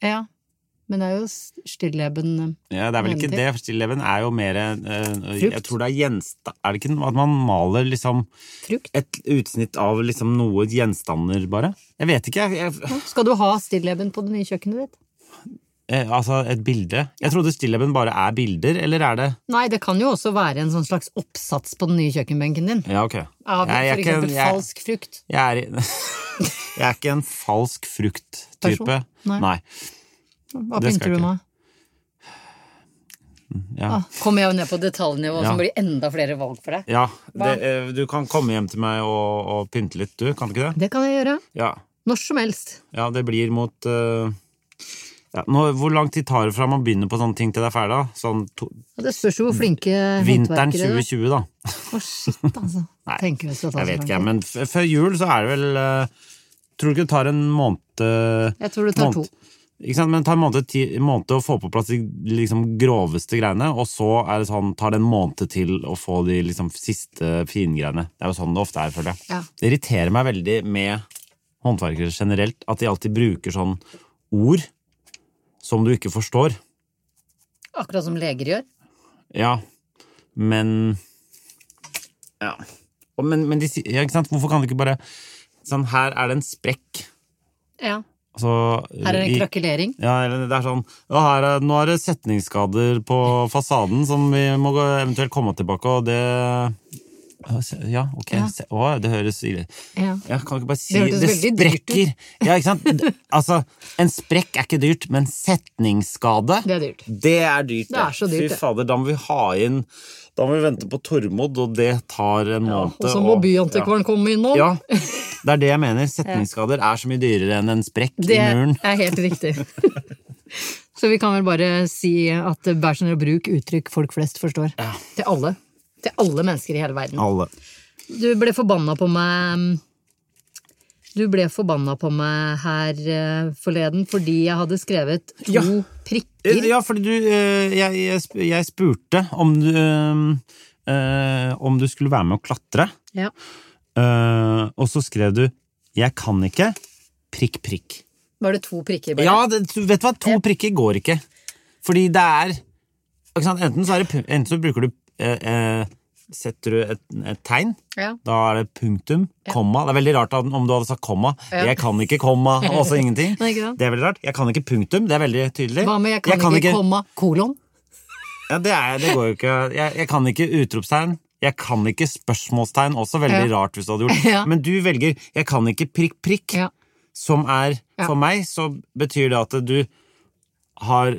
Speaker 2: Ja. Men det er jo s- stilleben eh.
Speaker 3: Ja, det er vel ikke
Speaker 2: Veldig.
Speaker 3: det. Stilleben er jo mer eh, Jeg
Speaker 2: Frukt.
Speaker 3: tror det er gjenstand... Er det ikke noe at man maler liksom
Speaker 2: Frukt.
Speaker 3: Et utsnitt av liksom noe gjenstander, bare? Jeg vet ikke. Jeg, jeg,
Speaker 2: Skal du ha stilleben på det nye kjøkkenet ditt?
Speaker 3: eh, altså, et bilde. Jeg trodde stilleben bare er bilder, eller er det
Speaker 2: Nei, det kan jo også være en sånn slags oppsats på den nye kjøkkenbenken din.
Speaker 3: Ja, ok.
Speaker 2: Av for
Speaker 3: Jeg- jeg er ikke-
Speaker 2: eksempel
Speaker 3: jeg-
Speaker 2: falsk frukt.
Speaker 3: Jeg er, i- jeg er ikke en falsk frukt-type.
Speaker 2: Person? Nei.
Speaker 3: Nei.
Speaker 2: Hva
Speaker 3: Det
Speaker 2: pynter
Speaker 3: skal
Speaker 2: du
Speaker 3: jeg ikke.
Speaker 2: med?
Speaker 3: Ja.
Speaker 2: Ah, kommer jeg jo ned på detaljnivå,
Speaker 3: Ja.
Speaker 2: som blir enda flere valg for deg.
Speaker 3: Ja,
Speaker 2: Hva?
Speaker 3: det, eh, du kan komme hjem til meg og, og pynte litt, du. Kan du ikke det?
Speaker 2: Det kan jeg gjøre.
Speaker 3: Ja,
Speaker 2: Når som helst.
Speaker 3: ja det blir mot eh, ja, nå, Hvor lang tid tar det fra man begynner på sånne ting til det er ferdig? da? Sånn to,
Speaker 2: Og det spørs jo hvor flinke
Speaker 3: Mm. vinteren
Speaker 2: håndverkere du er.
Speaker 3: 2020, da.
Speaker 2: Å, shit, altså.
Speaker 3: Nei,
Speaker 2: Tenker vi skal ta
Speaker 3: Jeg vet
Speaker 2: så sånn. lang
Speaker 3: ikke,
Speaker 2: tid.
Speaker 3: men f før jul så er det vel eh, Tror du ikke det tar en måned eh,
Speaker 2: Jeg tror det tar
Speaker 3: måned-
Speaker 2: to.
Speaker 3: Ikke sant, men det tar en måned, ti, måned å få på plass de liksom, groveste greiene, og så er det sånn, tar det en måned til å få de liksom, siste fingreiene. Det er jo sånn det ofte er, føler jeg.
Speaker 2: Ja.
Speaker 3: Det irriterer meg veldig med håndverkere generelt, at de alltid bruker sånn ord som du ikke forstår.
Speaker 2: Akkurat som leger gjør.
Speaker 3: Ja, men Ja. Og Men, men de, sier- ja, ikke sant? hvorfor kan de ikke bare Sånn, her er det en sprekk.
Speaker 2: Ja.
Speaker 3: Altså,
Speaker 2: Her er det
Speaker 3: i-
Speaker 2: en krakelering.
Speaker 3: Ja, eller det er sånn ja, her er, Nå er det setningsskader på fasaden som vi må gå- eventuelt komme tilbake, og det Ja, ok.
Speaker 2: Ja.
Speaker 3: se- Å, det høres ille
Speaker 2: Ja.
Speaker 3: ja, kan du ikke bare si
Speaker 2: Det hørtes
Speaker 3: Det
Speaker 2: veldig dyrt ut.
Speaker 3: sprekker! Ja, ikke sant? D- Altså, en sprekk er ikke dyrt, men setningsskade
Speaker 2: Det er dyrt.
Speaker 3: Det er dyrt,
Speaker 2: Det er så dyrt, det.
Speaker 3: Fy fader, da må vi ha inn Da må vi vente på Tormod, og det tar en måned.
Speaker 2: Og så må byantikvaren komme innom.
Speaker 3: Ja. ja. Det er det jeg mener. Setningsskader er så mye dyrere enn en sprekk
Speaker 2: Det
Speaker 3: i muren.
Speaker 2: er helt riktig. Så vi kan vel bare si at bæsjer og bruk uttrykk folk flest forstår. Til alle. Til alle mennesker i hele verden.
Speaker 3: Alle.
Speaker 2: Du ble forbanna på meg mm, Du ble forbanna på meg her eh, forleden fordi jeg hadde skrevet to
Speaker 3: Ja.
Speaker 2: prikker.
Speaker 3: Ja, fordi du eh, Jeg, jeg, sp- jeg spurte om du eh, eh, Om du skulle være med å klatre.
Speaker 2: Ja.
Speaker 3: Eh, og så skrev du 'Jeg kan ikke'. Prikk, prikk.
Speaker 2: Var det to prikker? Bare?
Speaker 3: Ja, det, du vet du hva? To prikker går ikke. Fordi det er ikke sant? Enten, så er det, pu- enten så bruker du eh, eh, Setter du et, et tegn,
Speaker 2: Ja.
Speaker 3: da er det punktum, komma. Det er veldig rart at om du hadde sagt komma.
Speaker 2: Ja.
Speaker 3: 'Jeg kan ikke komma', og så ingenting.
Speaker 2: Nei, ikke sant?
Speaker 3: Det er veldig rart. 'Jeg kan ikke punktum', det er veldig tydelig.
Speaker 2: Hva med 'jeg kan, ikke, komma kolon'?
Speaker 3: Ja, det, er, det går jo ikke. Jeg, jeg kan ikke utropstegn. Jeg kan ikke spørsmålstegn. Også veldig
Speaker 2: Ja.
Speaker 3: rart hvis du hadde gjort.
Speaker 2: Ja.
Speaker 3: Men du velger 'jeg kan ikke prikk, prikk',
Speaker 2: Ja.
Speaker 3: som er
Speaker 2: Ja.
Speaker 3: For meg så betyr det at du har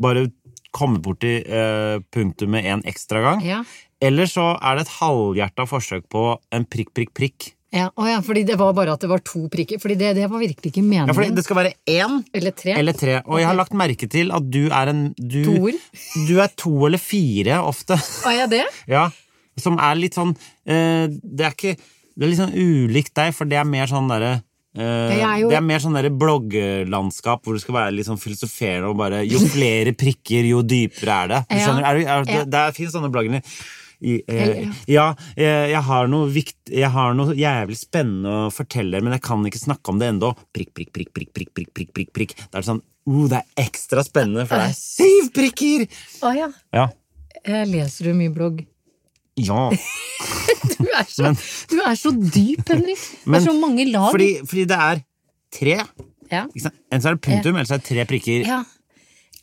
Speaker 3: bare kommet borti eh, punktet med en ekstra gang.
Speaker 2: Ja.
Speaker 3: Eller så er det et halvhjerta forsøk på en prikk, prikk, prikk.
Speaker 2: Ja, å ja, fordi det var bare at det var to prikker. Fordi det, det var virkelig ikke
Speaker 3: Ja, for
Speaker 2: meningen.
Speaker 3: det skal være én
Speaker 2: Eller tre.
Speaker 3: eller tre. Og jeg har lagt merke til at du er en du,
Speaker 2: Toer.
Speaker 3: Du er to eller fire ofte.
Speaker 2: Var jeg det?
Speaker 3: Ja, som er litt sånn eh, Det er ikke Det er litt sånn ulikt deg, for det er mer sånn derre eh,
Speaker 2: Jeg er jo-
Speaker 3: Det er mer sånn derre bloggerlandskap hvor du skal være litt sånn filosoferende og bare Jo flere prikker, jo dypere er det. Du
Speaker 2: Ja.
Speaker 3: skjønner, er du, er,
Speaker 2: Ja.
Speaker 3: det, det finnes sånne blogger. I, eh,
Speaker 2: Eller-
Speaker 3: ja, eh, jeg har noe vikt Jeg har noe jævlig spennende å fortelle, men jeg kan ikke snakke om det ennå. Prikk, prikk, prikk, prikk, prikk, prikk, prikk, prikk, prikk. Da er det sånn uh, Det er ekstra spennende, for det er syv prikker!
Speaker 2: Å ja.
Speaker 3: Ja.
Speaker 2: Eh, Leser du mye blogg?
Speaker 3: Ja.
Speaker 2: Du er så, du er så dyp, Henrik. Det
Speaker 3: Men-
Speaker 2: er så mange lag.
Speaker 3: Fordi, fordi det er tre.
Speaker 2: ja.
Speaker 3: Ikke sant? Enten så er det punktum, eller så er det tre prikker.
Speaker 2: Ja.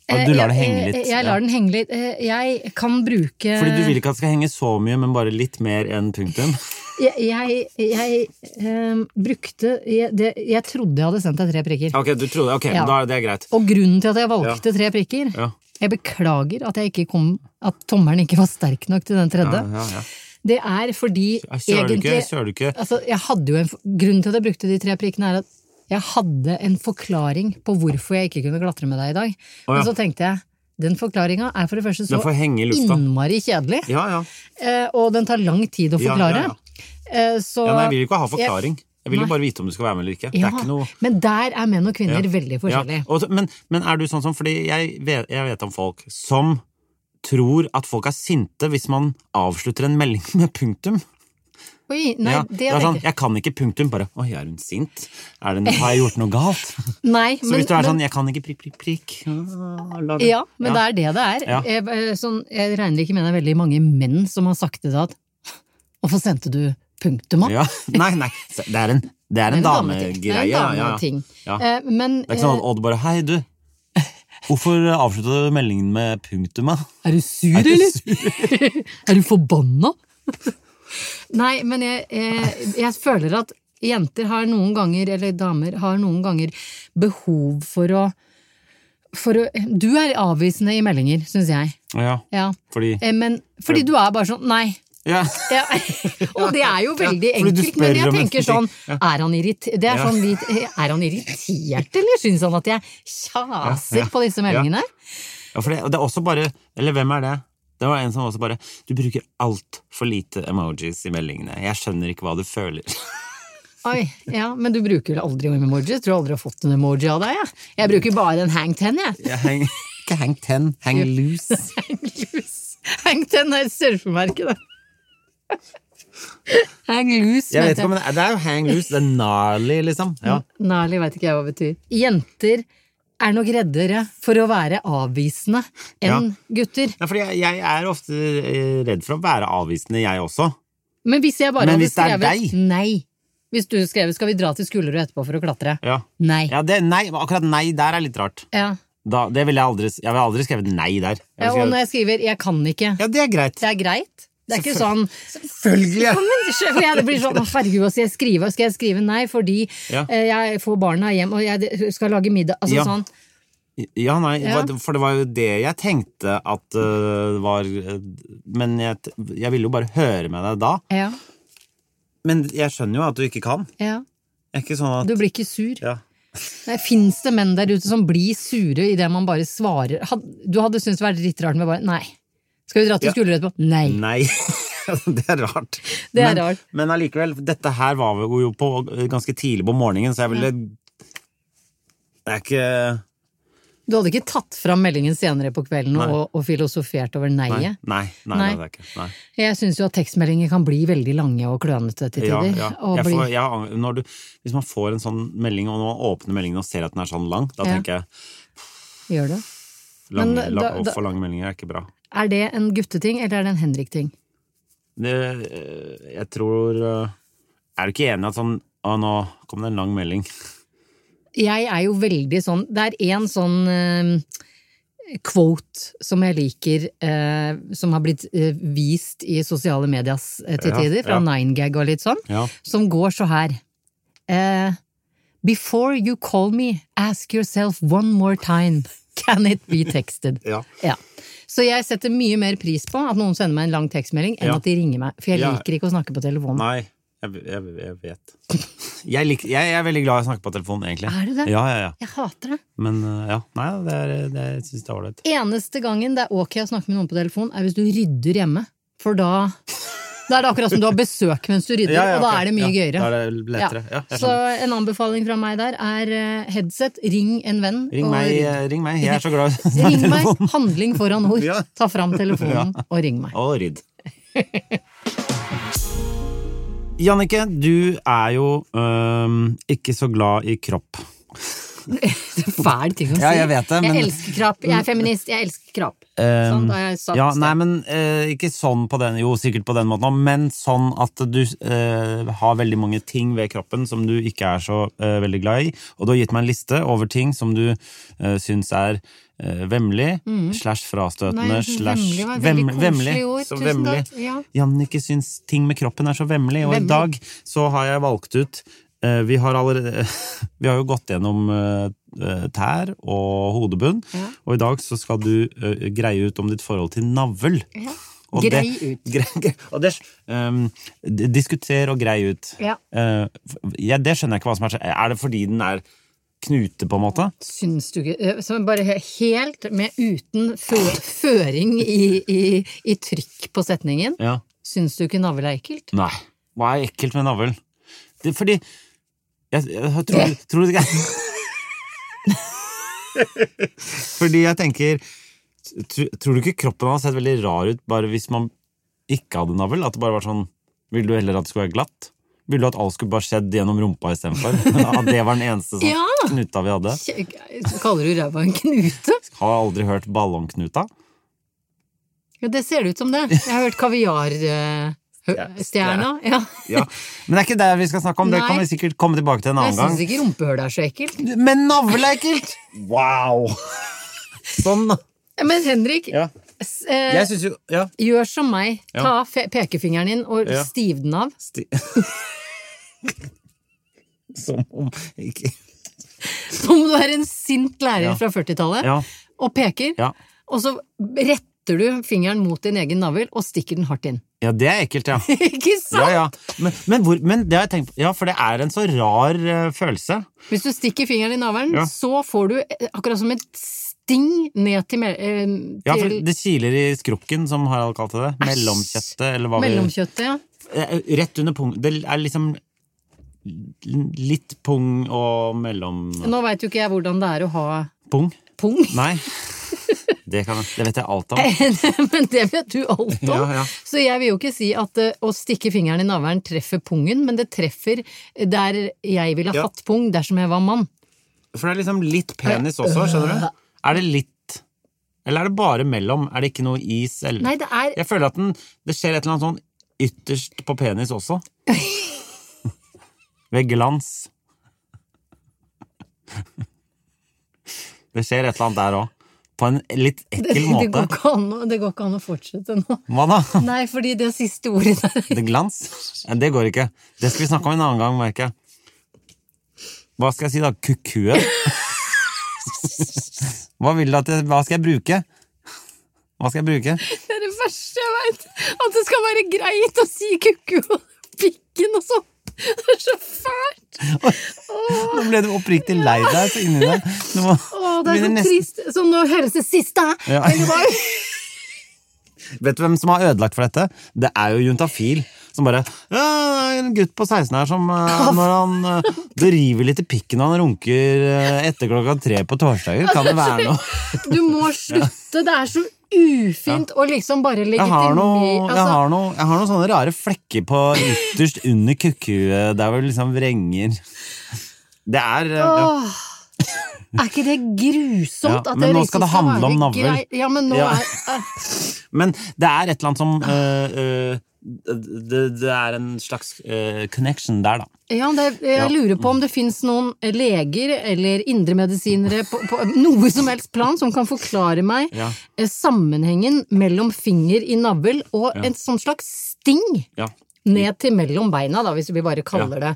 Speaker 2: Eh,
Speaker 3: Og du lar det henge
Speaker 2: Jeg,
Speaker 3: litt.
Speaker 2: jeg lar den eh, henge litt. Eh, Jeg kan bruke
Speaker 3: ja. Fordi du vil ikke at det skal henge så mye, men bare litt mer enn punktum.
Speaker 2: Jeg, jeg, jeg eh, brukte jeg, det, jeg trodde jeg hadde sendt deg tre prikker.
Speaker 3: Ok, du trodde, ok,
Speaker 2: Ja.
Speaker 3: da er det greit.
Speaker 2: Og grunnen til at jeg valgte tre prikker
Speaker 3: Ja.
Speaker 2: Jeg beklager at, jeg ikke kom, at tommelen ikke var sterk nok til den tredje.
Speaker 3: Ja, ja, ja.
Speaker 2: Det er fordi
Speaker 3: Ja, Søler du ikke?
Speaker 2: egentlig
Speaker 3: Søler du ikke?
Speaker 2: altså, jeg hadde jo en, for- Grunnen til at jeg brukte de tre prikkene, er at jeg hadde en forklaring på hvorfor jeg ikke kunne klatre med deg i dag.
Speaker 3: Å, ja.
Speaker 2: Men så tenkte jeg den forklaringa er for det første så
Speaker 3: Den får henge i lufta.
Speaker 2: innmari kjedelig,
Speaker 3: Ja, ja.
Speaker 2: eh, og den tar lang tid å
Speaker 3: Ja, ja,
Speaker 2: forklare.
Speaker 3: ja.
Speaker 2: Eh, Så
Speaker 3: ja nei, jeg vil jo ikke ha forklaring.
Speaker 2: Jeg-
Speaker 3: Jeg vil jo
Speaker 2: Nei.
Speaker 3: bare vite om du skal være med eller ikke. Det
Speaker 2: Ja,
Speaker 3: er ikke noe...
Speaker 2: Men der er menn og kvinner
Speaker 3: Ja.
Speaker 2: veldig forskjellige.
Speaker 3: Ja. Og så- Men, men er du sånn som Fordi jeg vet, jeg vet om folk som tror at folk er sinte hvis man avslutter en melding med punktum.
Speaker 2: Oi, nei,
Speaker 3: ja,
Speaker 2: det
Speaker 3: er
Speaker 2: jeg
Speaker 3: sånn,
Speaker 2: tenker.
Speaker 3: jeg kan ikke punktum. Bare Oi, er hun sint? Er det, har jeg gjort noe galt?
Speaker 2: Nei,
Speaker 3: Så
Speaker 2: men,
Speaker 3: hvis du er
Speaker 2: men-
Speaker 3: sånn 'jeg kan ikke prikk, prikk, prikk' ah, la det-
Speaker 2: Ja, men det er det det er.
Speaker 3: Ja.
Speaker 2: Jeg, eh, sånn, jeg regner ikke med det er veldig mange menn som har sagt til deg at Hvorfor sendte du punktum, da?
Speaker 3: Ja. Nei, nei. så Det er en, det er en
Speaker 2: dameting. Det er en
Speaker 3: damegreie. ja, ja.
Speaker 2: dameting.
Speaker 3: Ja.
Speaker 2: Eh, Men
Speaker 3: Det er ikke sånn at Odd bare 'hei, du'. Hvorfor avslutta du meldingen med punktum? da?»
Speaker 2: eh, er du sur,
Speaker 3: Er du
Speaker 2: eller? er du forbanna? Nei, men jeg, jeg, jeg føler at jenter har noen ganger, eller damer har noen ganger, behov for å, for å Du er avvisende i meldinger, syns jeg.
Speaker 3: Ja,
Speaker 2: Ja.
Speaker 3: fordi
Speaker 2: Eh, Men fordi du er bare sånn Nei.
Speaker 3: ja.
Speaker 2: Ja. Og det er jo veldig
Speaker 3: Ja, fordi du
Speaker 2: enkelt, men
Speaker 3: spør
Speaker 2: jeg
Speaker 3: om en
Speaker 2: tenker
Speaker 3: ting.
Speaker 2: sånn Er han, irrit det er
Speaker 3: Ja.
Speaker 2: sånn litt, eh, er han irritert, eller syns han at jeg
Speaker 3: Ja, ja.
Speaker 2: kjaser på disse meldingene?
Speaker 3: ja for det, og det er også bare Eller hvem er det? Det var en som også bare 'Du bruker altfor lite emojis i meldingene. Jeg skjønner ikke hva du føler'.
Speaker 2: Oi, ja, Men du bruker vel aldri emojis? Tror du aldri har fått en emoji av deg? Jeg, jeg bruker bare en hang ten, jeg.
Speaker 3: Jeg hang, ikke hang ten, hang loose.
Speaker 2: Hang ten er et surfemerke, det. Hang loose,
Speaker 3: Jeg vet
Speaker 2: mente
Speaker 3: ikke om
Speaker 2: jeg.
Speaker 3: det, det er jo hang loose. Det er gnarly, liksom. Ja.
Speaker 2: Gnarly veit ikke jeg hva det betyr. Jenter er nok reddere for å være avvisende enn gutter.
Speaker 3: Ja, fordi jeg, jeg er ofte eh, redd for å være avvisende, jeg også.
Speaker 2: Men hvis jeg bare
Speaker 3: Men
Speaker 2: hadde
Speaker 3: hvis det er
Speaker 2: skrevet
Speaker 3: deg?
Speaker 2: nei Hvis du skrev 'skal vi dra til Skullerud etterpå for å klatre'?
Speaker 3: Ja.
Speaker 2: Nei.
Speaker 3: Ja, det, nei, akkurat nei der er litt rart.
Speaker 2: Ja.
Speaker 3: Da, det ville jeg aldri Jeg ville aldri skrevet nei der. Jeg
Speaker 2: Ja,
Speaker 3: ville
Speaker 2: og når jeg
Speaker 3: skrevet,
Speaker 2: skriver 'jeg kan ikke',
Speaker 3: ja, det er greit.
Speaker 2: det er greit? Det er ikke sånn
Speaker 3: Selvfølgelig!
Speaker 2: Men det skjer- for jeg blir sånn, «Å, herregud, skal jeg skrive, skal jeg skrive nei, fordi
Speaker 3: Ja.
Speaker 2: eh, jeg får barna hjem, og jeg skal lage middag, altså
Speaker 3: Ja.
Speaker 2: sånn.
Speaker 3: Ja, nei,
Speaker 2: Ja.
Speaker 3: hva- for det var jo det jeg tenkte at øh, var øh, Men jeg, t- jeg ville jo bare høre med deg da.
Speaker 2: Ja,
Speaker 3: Men jeg skjønner jo at du ikke kan.
Speaker 2: ja.
Speaker 3: Jeg er ikke sånn at
Speaker 2: Du blir ikke sur.
Speaker 3: ja.
Speaker 2: Nei, Fins det menn der ute som blir sure idet man bare svarer? Had, du hadde syntes det var litt rart med bare nei. Skal vi dra til
Speaker 3: Ja.
Speaker 2: Skullerud etterpå? Nei.
Speaker 3: Nei. Altså, det er rart.
Speaker 2: Det er
Speaker 3: men,
Speaker 2: rart.
Speaker 3: Men allikevel, dette her var vi jo på øh, ganske tidlig på morgenen, så jeg ville Det er ikke
Speaker 2: Du hadde ikke tatt fram meldingen senere på kvelden
Speaker 3: Nei.
Speaker 2: og, og filosofert over
Speaker 3: Nei,
Speaker 2: nei-et?
Speaker 3: nei, nei,
Speaker 2: Nei.
Speaker 3: det er ikke. Nei.
Speaker 2: Jeg syns jo at tekstmeldinger kan bli veldig lange og klønete til
Speaker 3: Ja,
Speaker 2: tider.
Speaker 3: ja.
Speaker 2: Og
Speaker 3: Jeg
Speaker 2: bli,
Speaker 3: får, jeg, ang- når du, hvis man får en sånn melding, og når man åpner meldingen og ser at den er sånn lang, da
Speaker 2: Ja.
Speaker 3: tenker jeg
Speaker 2: Gjør det.
Speaker 3: Lange,
Speaker 2: Men da-
Speaker 3: la- å
Speaker 2: da-
Speaker 3: få lange meldinger er ikke bra.
Speaker 2: Er det en gutteting, eller er det en Henrik-ting?
Speaker 3: Det, eh, jeg tror eh, Er du ikke enig i at sånn Å, nå kom det en lang melding.
Speaker 2: Jeg er jo veldig sånn Det er en sånn eh, quote som jeg liker, eh, som har blitt eh, vist i sosiale medias eh, til
Speaker 3: Ja,
Speaker 2: tider, fra
Speaker 3: ja.
Speaker 2: Ninegag og litt sånn,
Speaker 3: Ja.
Speaker 2: som går så her. Eh, Before you call me, ask yourself one more time. Can it be texted?
Speaker 3: Ja.
Speaker 2: Ja. Så jeg setter mye mer pris på at noen sender meg en lang tekstmelding, enn
Speaker 3: Ja.
Speaker 2: at de ringer meg. For jeg
Speaker 3: Ja.
Speaker 2: liker ikke å snakke på telefonen.
Speaker 3: Nei, jeg, jeg, jeg vet. Jeg, lik, jeg, er veldig glad i å snakke på telefonen, egentlig.
Speaker 2: Er du det?
Speaker 3: Ja, ja, ja.
Speaker 2: Jeg hater det.
Speaker 3: Men eh, ja, nei, det er, det, jeg syns det er ålreit.
Speaker 2: Eneste gangen det er ok å snakke med noen på telefon, er hvis du rydder hjemme. For da Da er det akkurat som du har besøk mens du rydder,
Speaker 3: Ja, ja,
Speaker 2: og da
Speaker 3: ok.
Speaker 2: er det mye
Speaker 3: Ja,
Speaker 2: gøyere.
Speaker 3: da er det lettere. Ja, jeg
Speaker 2: så en anbefaling fra meg der er eh, headset, ring en venn.
Speaker 3: Ring
Speaker 2: og
Speaker 3: meg,
Speaker 2: rydd.
Speaker 3: eh, ring meg. Jeg er så glad i å snakke
Speaker 2: Ring
Speaker 3: på
Speaker 2: meg,
Speaker 3: telefonen.
Speaker 2: handling foran ord.
Speaker 3: Ja.
Speaker 2: Ta fram telefonen og ring meg.
Speaker 3: Og rydd. Jannicke, du er jo øhm, ikke så glad i kropp.
Speaker 2: Det er fæl ting å si.
Speaker 3: Ja, jeg vet det, men- Ehm,
Speaker 2: jeg elsker krapp. Jeg er feminist, jeg elsker krapp. sånn, da har jeg sagt
Speaker 3: ja,
Speaker 2: det.
Speaker 3: nei, men eh, ikke sånn på den, jo sikkert på den måten, også, men sånn at du eh, har veldig mange ting ved kroppen som du ikke er så eh, veldig glad i. Og du har gitt meg en liste over ting som du uh, syns er eh, vemmelig, slash
Speaker 2: Mm. Nei,
Speaker 3: frastøtende,
Speaker 2: jeg synes
Speaker 3: slash
Speaker 2: vemmelig var et veldig
Speaker 3: Vem- vemmelig,
Speaker 2: koselig ord.
Speaker 3: så
Speaker 2: Tusen
Speaker 3: vemmelig.
Speaker 2: takk. Ja.
Speaker 3: Jannicke syns ting med kroppen er så vemmelig, og
Speaker 2: Vemmelig.
Speaker 3: i dag så har jeg valgt ut eh, vi har, allerede, vi har jo gått gjennom eh, eh, tær og hodebunn, og i dag så skal du eh, greie ut om ditt forhold til navl. Og det-
Speaker 2: Grei ut.
Speaker 3: Gre- gre- og det, ehm, d- diskuter og grei ut.
Speaker 2: Ja.
Speaker 3: Eh, f- ja, det skjønner jeg ikke hva som er så Er det fordi den er knute, på en måte?
Speaker 2: Syns du ikke eh, Som bare he- helt med uten fø føring i, i, i trykk på setningen.
Speaker 3: Ja.
Speaker 2: Syns du ikke navl er ekkelt?
Speaker 3: Nei. Hva er ekkelt med navl? Det er fordi Jeg, jeg tror, tror ikke Fordi jeg tenker tr- Tror du ikke kroppen hadde sett veldig rar ut bare hvis man ikke hadde navl? At det bare var sånn Ville du heller at det skulle være glatt? Ville du at alt skulle bare skjedd gjennom rumpa istedenfor? At det var den eneste sånn
Speaker 2: Ja.
Speaker 3: knuta vi hadde?
Speaker 2: Kje- Kaller du ræva en knute?
Speaker 3: Har aldri hørt ballongknuta.
Speaker 2: Ja, det ser det ut som det. Jeg har hørt kaviarstjerna. Ja.
Speaker 3: Ja. Men det er ikke det vi skal snakke om, det
Speaker 2: Nei.
Speaker 3: kan vi sikkert komme tilbake til en
Speaker 2: Jeg
Speaker 3: annen gang.
Speaker 2: syns ikke rumpehullet er så ekkelt.
Speaker 3: Men navle er ekkelt! Wow! Sånn, da.
Speaker 2: Men Henrik,
Speaker 3: Ja.
Speaker 2: s- eh,
Speaker 3: Jeg syns jo Ja.
Speaker 2: gjør som meg.
Speaker 3: Ja.
Speaker 2: Ta fe pekefingeren din og
Speaker 3: Ja.
Speaker 2: stiv den av.
Speaker 3: Sti Som om ikke
Speaker 2: Som om du er en sint lærer
Speaker 3: Ja.
Speaker 2: fra 40-tallet
Speaker 3: Ja.
Speaker 2: og peker,
Speaker 3: Ja.
Speaker 2: og så retter du fingeren mot din egen navl og stikker den hardt inn.
Speaker 3: ja, det er ekkelt, ja.
Speaker 2: Ikke
Speaker 3: Ja,
Speaker 2: sant?
Speaker 3: ja. Men, men, hvor, men det har jeg tenkt på. Ja, for det er en så rar eh, følelse.
Speaker 2: Hvis du stikker fingeren i navlen,
Speaker 3: Ja.
Speaker 2: så får du eh, akkurat som et sting ned til, mel- eh,
Speaker 3: Ja, for
Speaker 2: til
Speaker 3: det kiler i skrukken, som Harald kalte det. Mellomkjøttet, eller hva vi
Speaker 2: mellomkjøttet. Ja.
Speaker 3: Eh, Rett under pung. Det er liksom litt pung og mellom
Speaker 2: Nå veit jo ikke jeg hvordan det er å ha
Speaker 3: Pung?
Speaker 2: pung.
Speaker 3: Nei. Det, kan, det vet jeg alt om.
Speaker 2: Men det vet du alt om.
Speaker 3: Ja, ja.
Speaker 2: Så jeg vil jo ikke si at eh, å stikke fingeren i navlen treffer pungen, men det treffer der jeg ville
Speaker 3: Ja.
Speaker 2: hatt pung dersom jeg var mann.
Speaker 3: For det er liksom litt penis også, skjønner du? Er det litt Eller er det bare mellom? Er det ikke noe is? Eller?
Speaker 2: Nei, det er
Speaker 3: Jeg føler at den, det skjer et eller annet sånn ytterst på penis også. Ved glans. Det skjer et eller annet der òg. På en litt
Speaker 2: det,
Speaker 3: ekkel
Speaker 2: det, går
Speaker 3: måte.
Speaker 2: ikke an, å- det går ikke an å fortsette nå.
Speaker 3: Hva da?
Speaker 2: Nei, fordi det siste ordet der
Speaker 3: Det glans? Nei, Det går ikke. Det skal vi snakke om en annen gang, merker jeg. Hva skal jeg si, da? Kukue? Hva vil du at jeg Hva skal jeg bruke? Hva skal jeg bruke?
Speaker 2: Det er det verste jeg veit! At det skal være greit å si kukku og pikken og sånn. Det er så fælt!
Speaker 3: Nå ble du oppriktig lei deg så inni deg. Du må,
Speaker 2: Å, det er
Speaker 3: begynner
Speaker 2: så
Speaker 3: nesten-
Speaker 2: trist. Så nå høres det siste
Speaker 3: Ja.
Speaker 2: Men det var jo
Speaker 3: Vet du hvem som har ødelagt for dette? Det er jo juntafil. Som bare ja, det er En gutt på 16 her som eh, når han eh, Det river litt i pikken når han runker eh, etter klokka tre på torsdager. Kan det være noe?
Speaker 2: Du må slutte! Det er så ufint å liksom bare
Speaker 3: Jeg
Speaker 2: legitimere
Speaker 3: har, noe, jeg,
Speaker 2: altså,
Speaker 3: har noe, jeg har noen sånne rare flekker på ytterst under kukkuet, der hvor det liksom vrenger. Det er eh, ja.
Speaker 2: Åh, er ikke det grusomt?
Speaker 3: Ja,
Speaker 2: at
Speaker 3: men
Speaker 2: det
Speaker 3: nå
Speaker 2: liksom
Speaker 3: skal det handle om
Speaker 2: være
Speaker 3: navlen.
Speaker 2: grei- Ja, men nå
Speaker 3: Ja.
Speaker 2: er eh,
Speaker 3: Men det er et eller annet som eh, eh, det, det er en slags eh, connection der, da.
Speaker 2: Ja, det, jeg
Speaker 3: Ja.
Speaker 2: lurer på om det fins noen leger eller indremedisinere på, på noe som helst plan som kan forklare meg
Speaker 3: Ja.
Speaker 2: eh, sammenhengen mellom finger i navl og en sånn slags sting
Speaker 3: Ja.
Speaker 2: ned til mellom beina, da, hvis vi bare kaller det,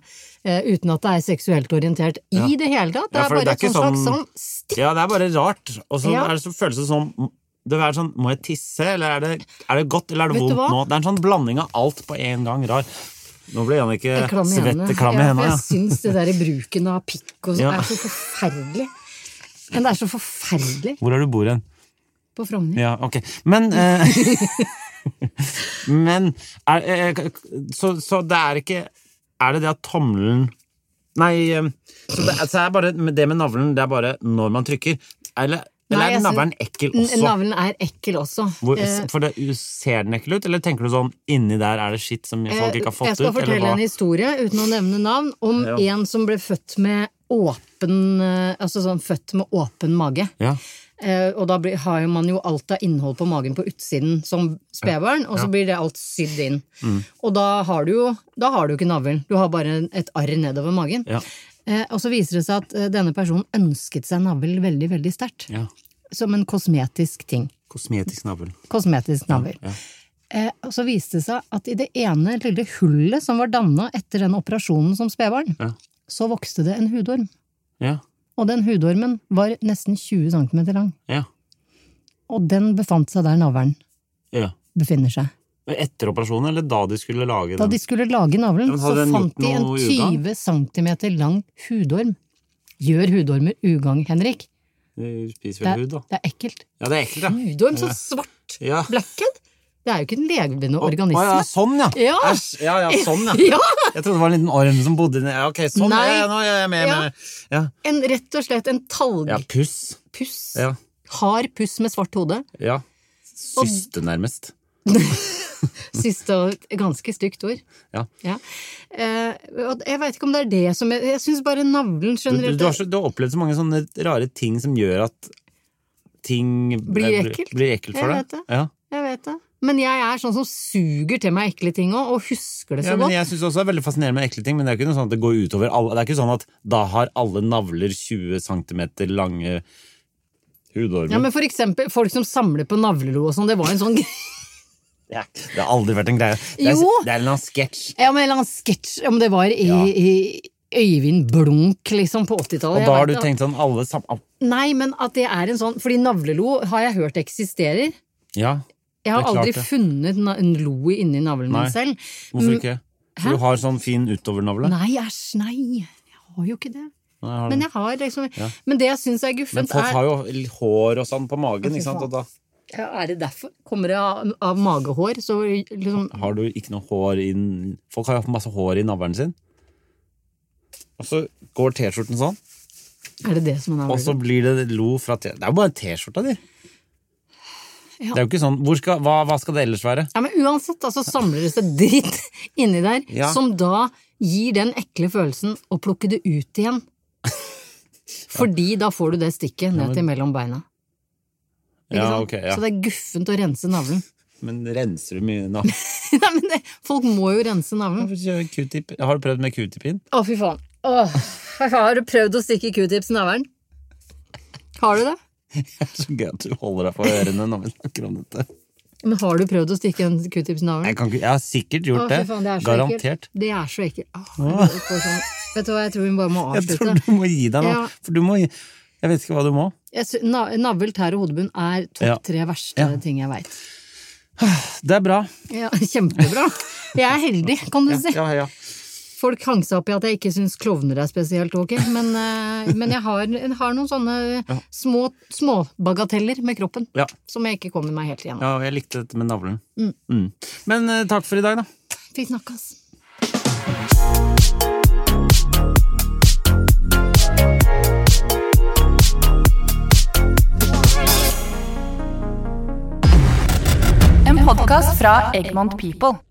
Speaker 2: eh, uten at det er seksuelt orientert i det hele tatt. Det er
Speaker 3: Ja, for
Speaker 2: bare
Speaker 3: det
Speaker 2: et
Speaker 3: er ikke
Speaker 2: sånn slags sånn
Speaker 3: sånn-
Speaker 2: sting.
Speaker 3: Ja, det er bare rart. Og så
Speaker 2: Ja.
Speaker 3: er det så føles det som det er sånn, Må jeg tisse, eller er det, er det godt, eller er det
Speaker 2: Vet du
Speaker 3: vondt
Speaker 2: hva?
Speaker 3: nå? Det er en sånn blanding av alt på en gang rar. Nå ble Jannicke
Speaker 2: Jeg klam i
Speaker 3: svett
Speaker 2: hendene.
Speaker 3: i klam
Speaker 2: Ja,
Speaker 3: i
Speaker 2: for
Speaker 3: hendene.
Speaker 2: jeg
Speaker 3: Ja.
Speaker 2: syns det der i bruken av pikk og sånn
Speaker 3: Ja.
Speaker 2: er så forferdelig. Men det er så forferdelig
Speaker 3: Hvor er du bor hen?
Speaker 2: på Frogner.
Speaker 3: Ja, ok. Men eh, Men er, eh, så, så det er ikke Er det det at tommelen Nei, eh, så det, så er bare, men det med navlen, det er bare når man trykker. Eller,
Speaker 2: Nei,
Speaker 3: eller
Speaker 2: jeg
Speaker 3: er
Speaker 2: syns-
Speaker 3: navlen ekkel
Speaker 2: N-
Speaker 3: også?
Speaker 2: Navlen er ekkel også.
Speaker 3: Hvor,
Speaker 2: Eh,
Speaker 3: for det, Ser den ekkel ut, eller tenker du sånn inni der er det skitt som folk ikke har fått
Speaker 2: Eh, jeg skal
Speaker 3: ut? Eller
Speaker 2: fortelle
Speaker 3: hva?
Speaker 2: en historie, uten å nevne navn, om
Speaker 3: Ja.
Speaker 2: en som ble født med åpen eh, Altså sånn født med åpen mage.
Speaker 3: Ja.
Speaker 2: Eh, og da blir, har jo man jo alt av innhold på magen på utsiden som spedbarn, og så blir det alt sydd inn.
Speaker 3: Mm.
Speaker 2: Og da har du jo da har du ikke navlen, du har bare en- et arr nedover magen.
Speaker 3: Ja.
Speaker 2: Eh, og så viser det seg at eh, denne personen ønsket seg navl veldig, veldig sterkt.
Speaker 3: ja.
Speaker 2: Som en kosmetisk ting.
Speaker 3: Kosmetisk navl.
Speaker 2: Kosmetisk navl. Eh, og så viste det seg at i det ene lille hullet som var danna etter den operasjonen som spedbarn,
Speaker 3: Ja.
Speaker 2: så vokste det en hudorm.
Speaker 3: Ja.
Speaker 2: Og den hudormen var nesten 20 cm lang.
Speaker 3: Ja.
Speaker 2: Og den befant seg der navlen
Speaker 3: ja.
Speaker 2: befinner seg.
Speaker 3: Etter operasjonen, eller da de skulle lage
Speaker 2: Da
Speaker 3: den?
Speaker 2: de skulle lage navlen,
Speaker 3: Ja, men
Speaker 2: så
Speaker 3: hadde den
Speaker 2: fant
Speaker 3: gjort
Speaker 2: de en
Speaker 3: noe ugagn?
Speaker 2: 20 cm lang hudorm. Gjør hudormer ugagn, Henrik?
Speaker 3: De spiser
Speaker 2: Det
Speaker 3: vel
Speaker 2: er,
Speaker 3: hud, da.
Speaker 2: det er ekkelt.
Speaker 3: Ja, det er ekkelt, ja.
Speaker 2: Hudorm, så svart!
Speaker 3: Ja.
Speaker 2: Blackhead! Det er jo ikke en levende
Speaker 3: Å ja,
Speaker 2: organisme.
Speaker 3: sånn, ja.
Speaker 2: Ja.
Speaker 3: Æsj, ja, ja, sånn, ja.
Speaker 2: Ja!
Speaker 3: Jeg trodde det var en liten orm som bodde nedi ja, Ok, sånn,
Speaker 2: Nei.
Speaker 3: ja, ja, nå er jeg med.
Speaker 2: Ja.
Speaker 3: med. Ja.
Speaker 2: En, rett og slett en
Speaker 3: ja,
Speaker 2: talgpuss.
Speaker 3: puss. Ja.
Speaker 2: Hard puss med svart hode.
Speaker 3: ja. Syste, nærmest.
Speaker 2: Siste og ganske stygt ord.
Speaker 3: Ja.
Speaker 2: Ja. Eh, og jeg veit ikke om det er det som Jeg, jeg syns bare navlen
Speaker 3: Du, du,
Speaker 2: generelt
Speaker 3: du, har så, du har opplevd så mange sånne rare ting som gjør at ting
Speaker 2: Blir ekkelt.
Speaker 3: blir ekkelt for
Speaker 2: Jeg
Speaker 3: deg.
Speaker 2: vet det.
Speaker 3: Ja.
Speaker 2: Jeg vet det. Men jeg er sånn som suger til meg ekle ting òg, og husker det så
Speaker 3: Ja, men
Speaker 2: godt.
Speaker 3: jeg synes også det er veldig fascinerende med ekle ting, men det er ikke noe sånn at det går utover alle. Det er ikke sånn at da har alle navler 20 cm lange hudormer.
Speaker 2: Ja, men for eksempel folk som samler på navlelo og sånn, det var en sånn greie.
Speaker 3: det, er, det har aldri vært en greie. Det er,
Speaker 2: Jo.
Speaker 3: det er en eller annen sketsj.
Speaker 2: Ja, men en eller annen sketsj, om det var i,
Speaker 3: Ja.
Speaker 2: i Øyvind Blunk, liksom, på 80-tallet.
Speaker 3: Og
Speaker 2: Jeg
Speaker 3: da har
Speaker 2: vet
Speaker 3: du
Speaker 2: det.
Speaker 3: tenkt sånn alle sammen
Speaker 2: Nei, men at det er en sånn Fordi navlelo har jeg hørt eksisterer.
Speaker 3: Ja,
Speaker 2: Jeg har
Speaker 3: Det er klart
Speaker 2: aldri
Speaker 3: det.
Speaker 2: funnet na- en lo inni navlen
Speaker 3: Nei.
Speaker 2: min selv.
Speaker 3: hvorfor ikke? For du har sånn fin utovernavle.
Speaker 2: Mm. Nei, æsj, nei. Jeg har jo ikke det.
Speaker 3: Nei, har du-
Speaker 2: Men jeg har liksom Men det jeg syns er
Speaker 3: Men
Speaker 2: guffent,
Speaker 3: folk
Speaker 2: er
Speaker 3: har jo hår og sånn på magen, ikke sant? Og da
Speaker 2: ja, Er det derfor? Kommer det av, av magehår? Så liksom
Speaker 3: har du ikke noe hår i den- Folk har jo masse hår i navlen sin. Og så går T-skjorten sånn,
Speaker 2: Er det det som er
Speaker 3: og så
Speaker 2: navlen?
Speaker 3: blir det lo fra T... Det er jo bare T-skjorta di.
Speaker 2: Ja.
Speaker 3: Det er jo ikke sånn, hvor skal, hva, hva skal det ellers være?
Speaker 2: Ja, men uansett, altså samler det seg dritt inni der,
Speaker 3: Ja.
Speaker 2: som da gir den ekle følelsen å plukke det ut igjen. Fordi da får du det stikket ned til mellom beina. Ikke
Speaker 3: Ja,
Speaker 2: sant?
Speaker 3: ok, ja.
Speaker 2: Så det er guffent å rense navlen.
Speaker 3: Men renser du mye navn?
Speaker 2: Nei, men det, folk må jo rense navlen.
Speaker 3: Q-tip. Har du prøvd med q-tip-pin?
Speaker 2: Å, fy faen. Åh, har du prøvd å stikke q-tips i navlen? Har du det?
Speaker 3: Så gøy at du holder deg for ørene når vi snakker om dette.
Speaker 2: Men har du prøvd å stikke en q-tips i navlen?
Speaker 3: Jeg, kan ikke, jeg har sikkert gjort
Speaker 2: Å,
Speaker 3: det.
Speaker 2: fy faen, det er så
Speaker 3: Garantert.
Speaker 2: ekkelt. Det er så ekkelt. Åh, jeg får sånn- Vet du hva, jeg tror vi bare må
Speaker 3: Jeg
Speaker 2: avslutte.
Speaker 3: tror du må gi deg nå.
Speaker 2: Ja.
Speaker 3: For du må gi Jeg vet ikke hva du må.
Speaker 2: Jeg sy- na navl, tær og hodebunn er
Speaker 3: Ja.
Speaker 2: topp tre verste
Speaker 3: Ja.
Speaker 2: ting jeg veit.
Speaker 3: Det er bra.
Speaker 2: Ja, kjempebra! Jeg er heldig, kan du si.
Speaker 3: Ja, ja.
Speaker 2: Folk hang seg opp i at jeg ikke syns klovner er spesielt ok, men, eh, men jeg, har, jeg har noen sånne små småbagateller med kroppen
Speaker 3: Ja.
Speaker 2: som jeg ikke kommer meg helt igjennom.
Speaker 3: Ja, og jeg likte dette med navlen. Mm. Men eh, takk for i dag, da.
Speaker 2: Vi snakkes.
Speaker 4: En podkast fra Egmont People.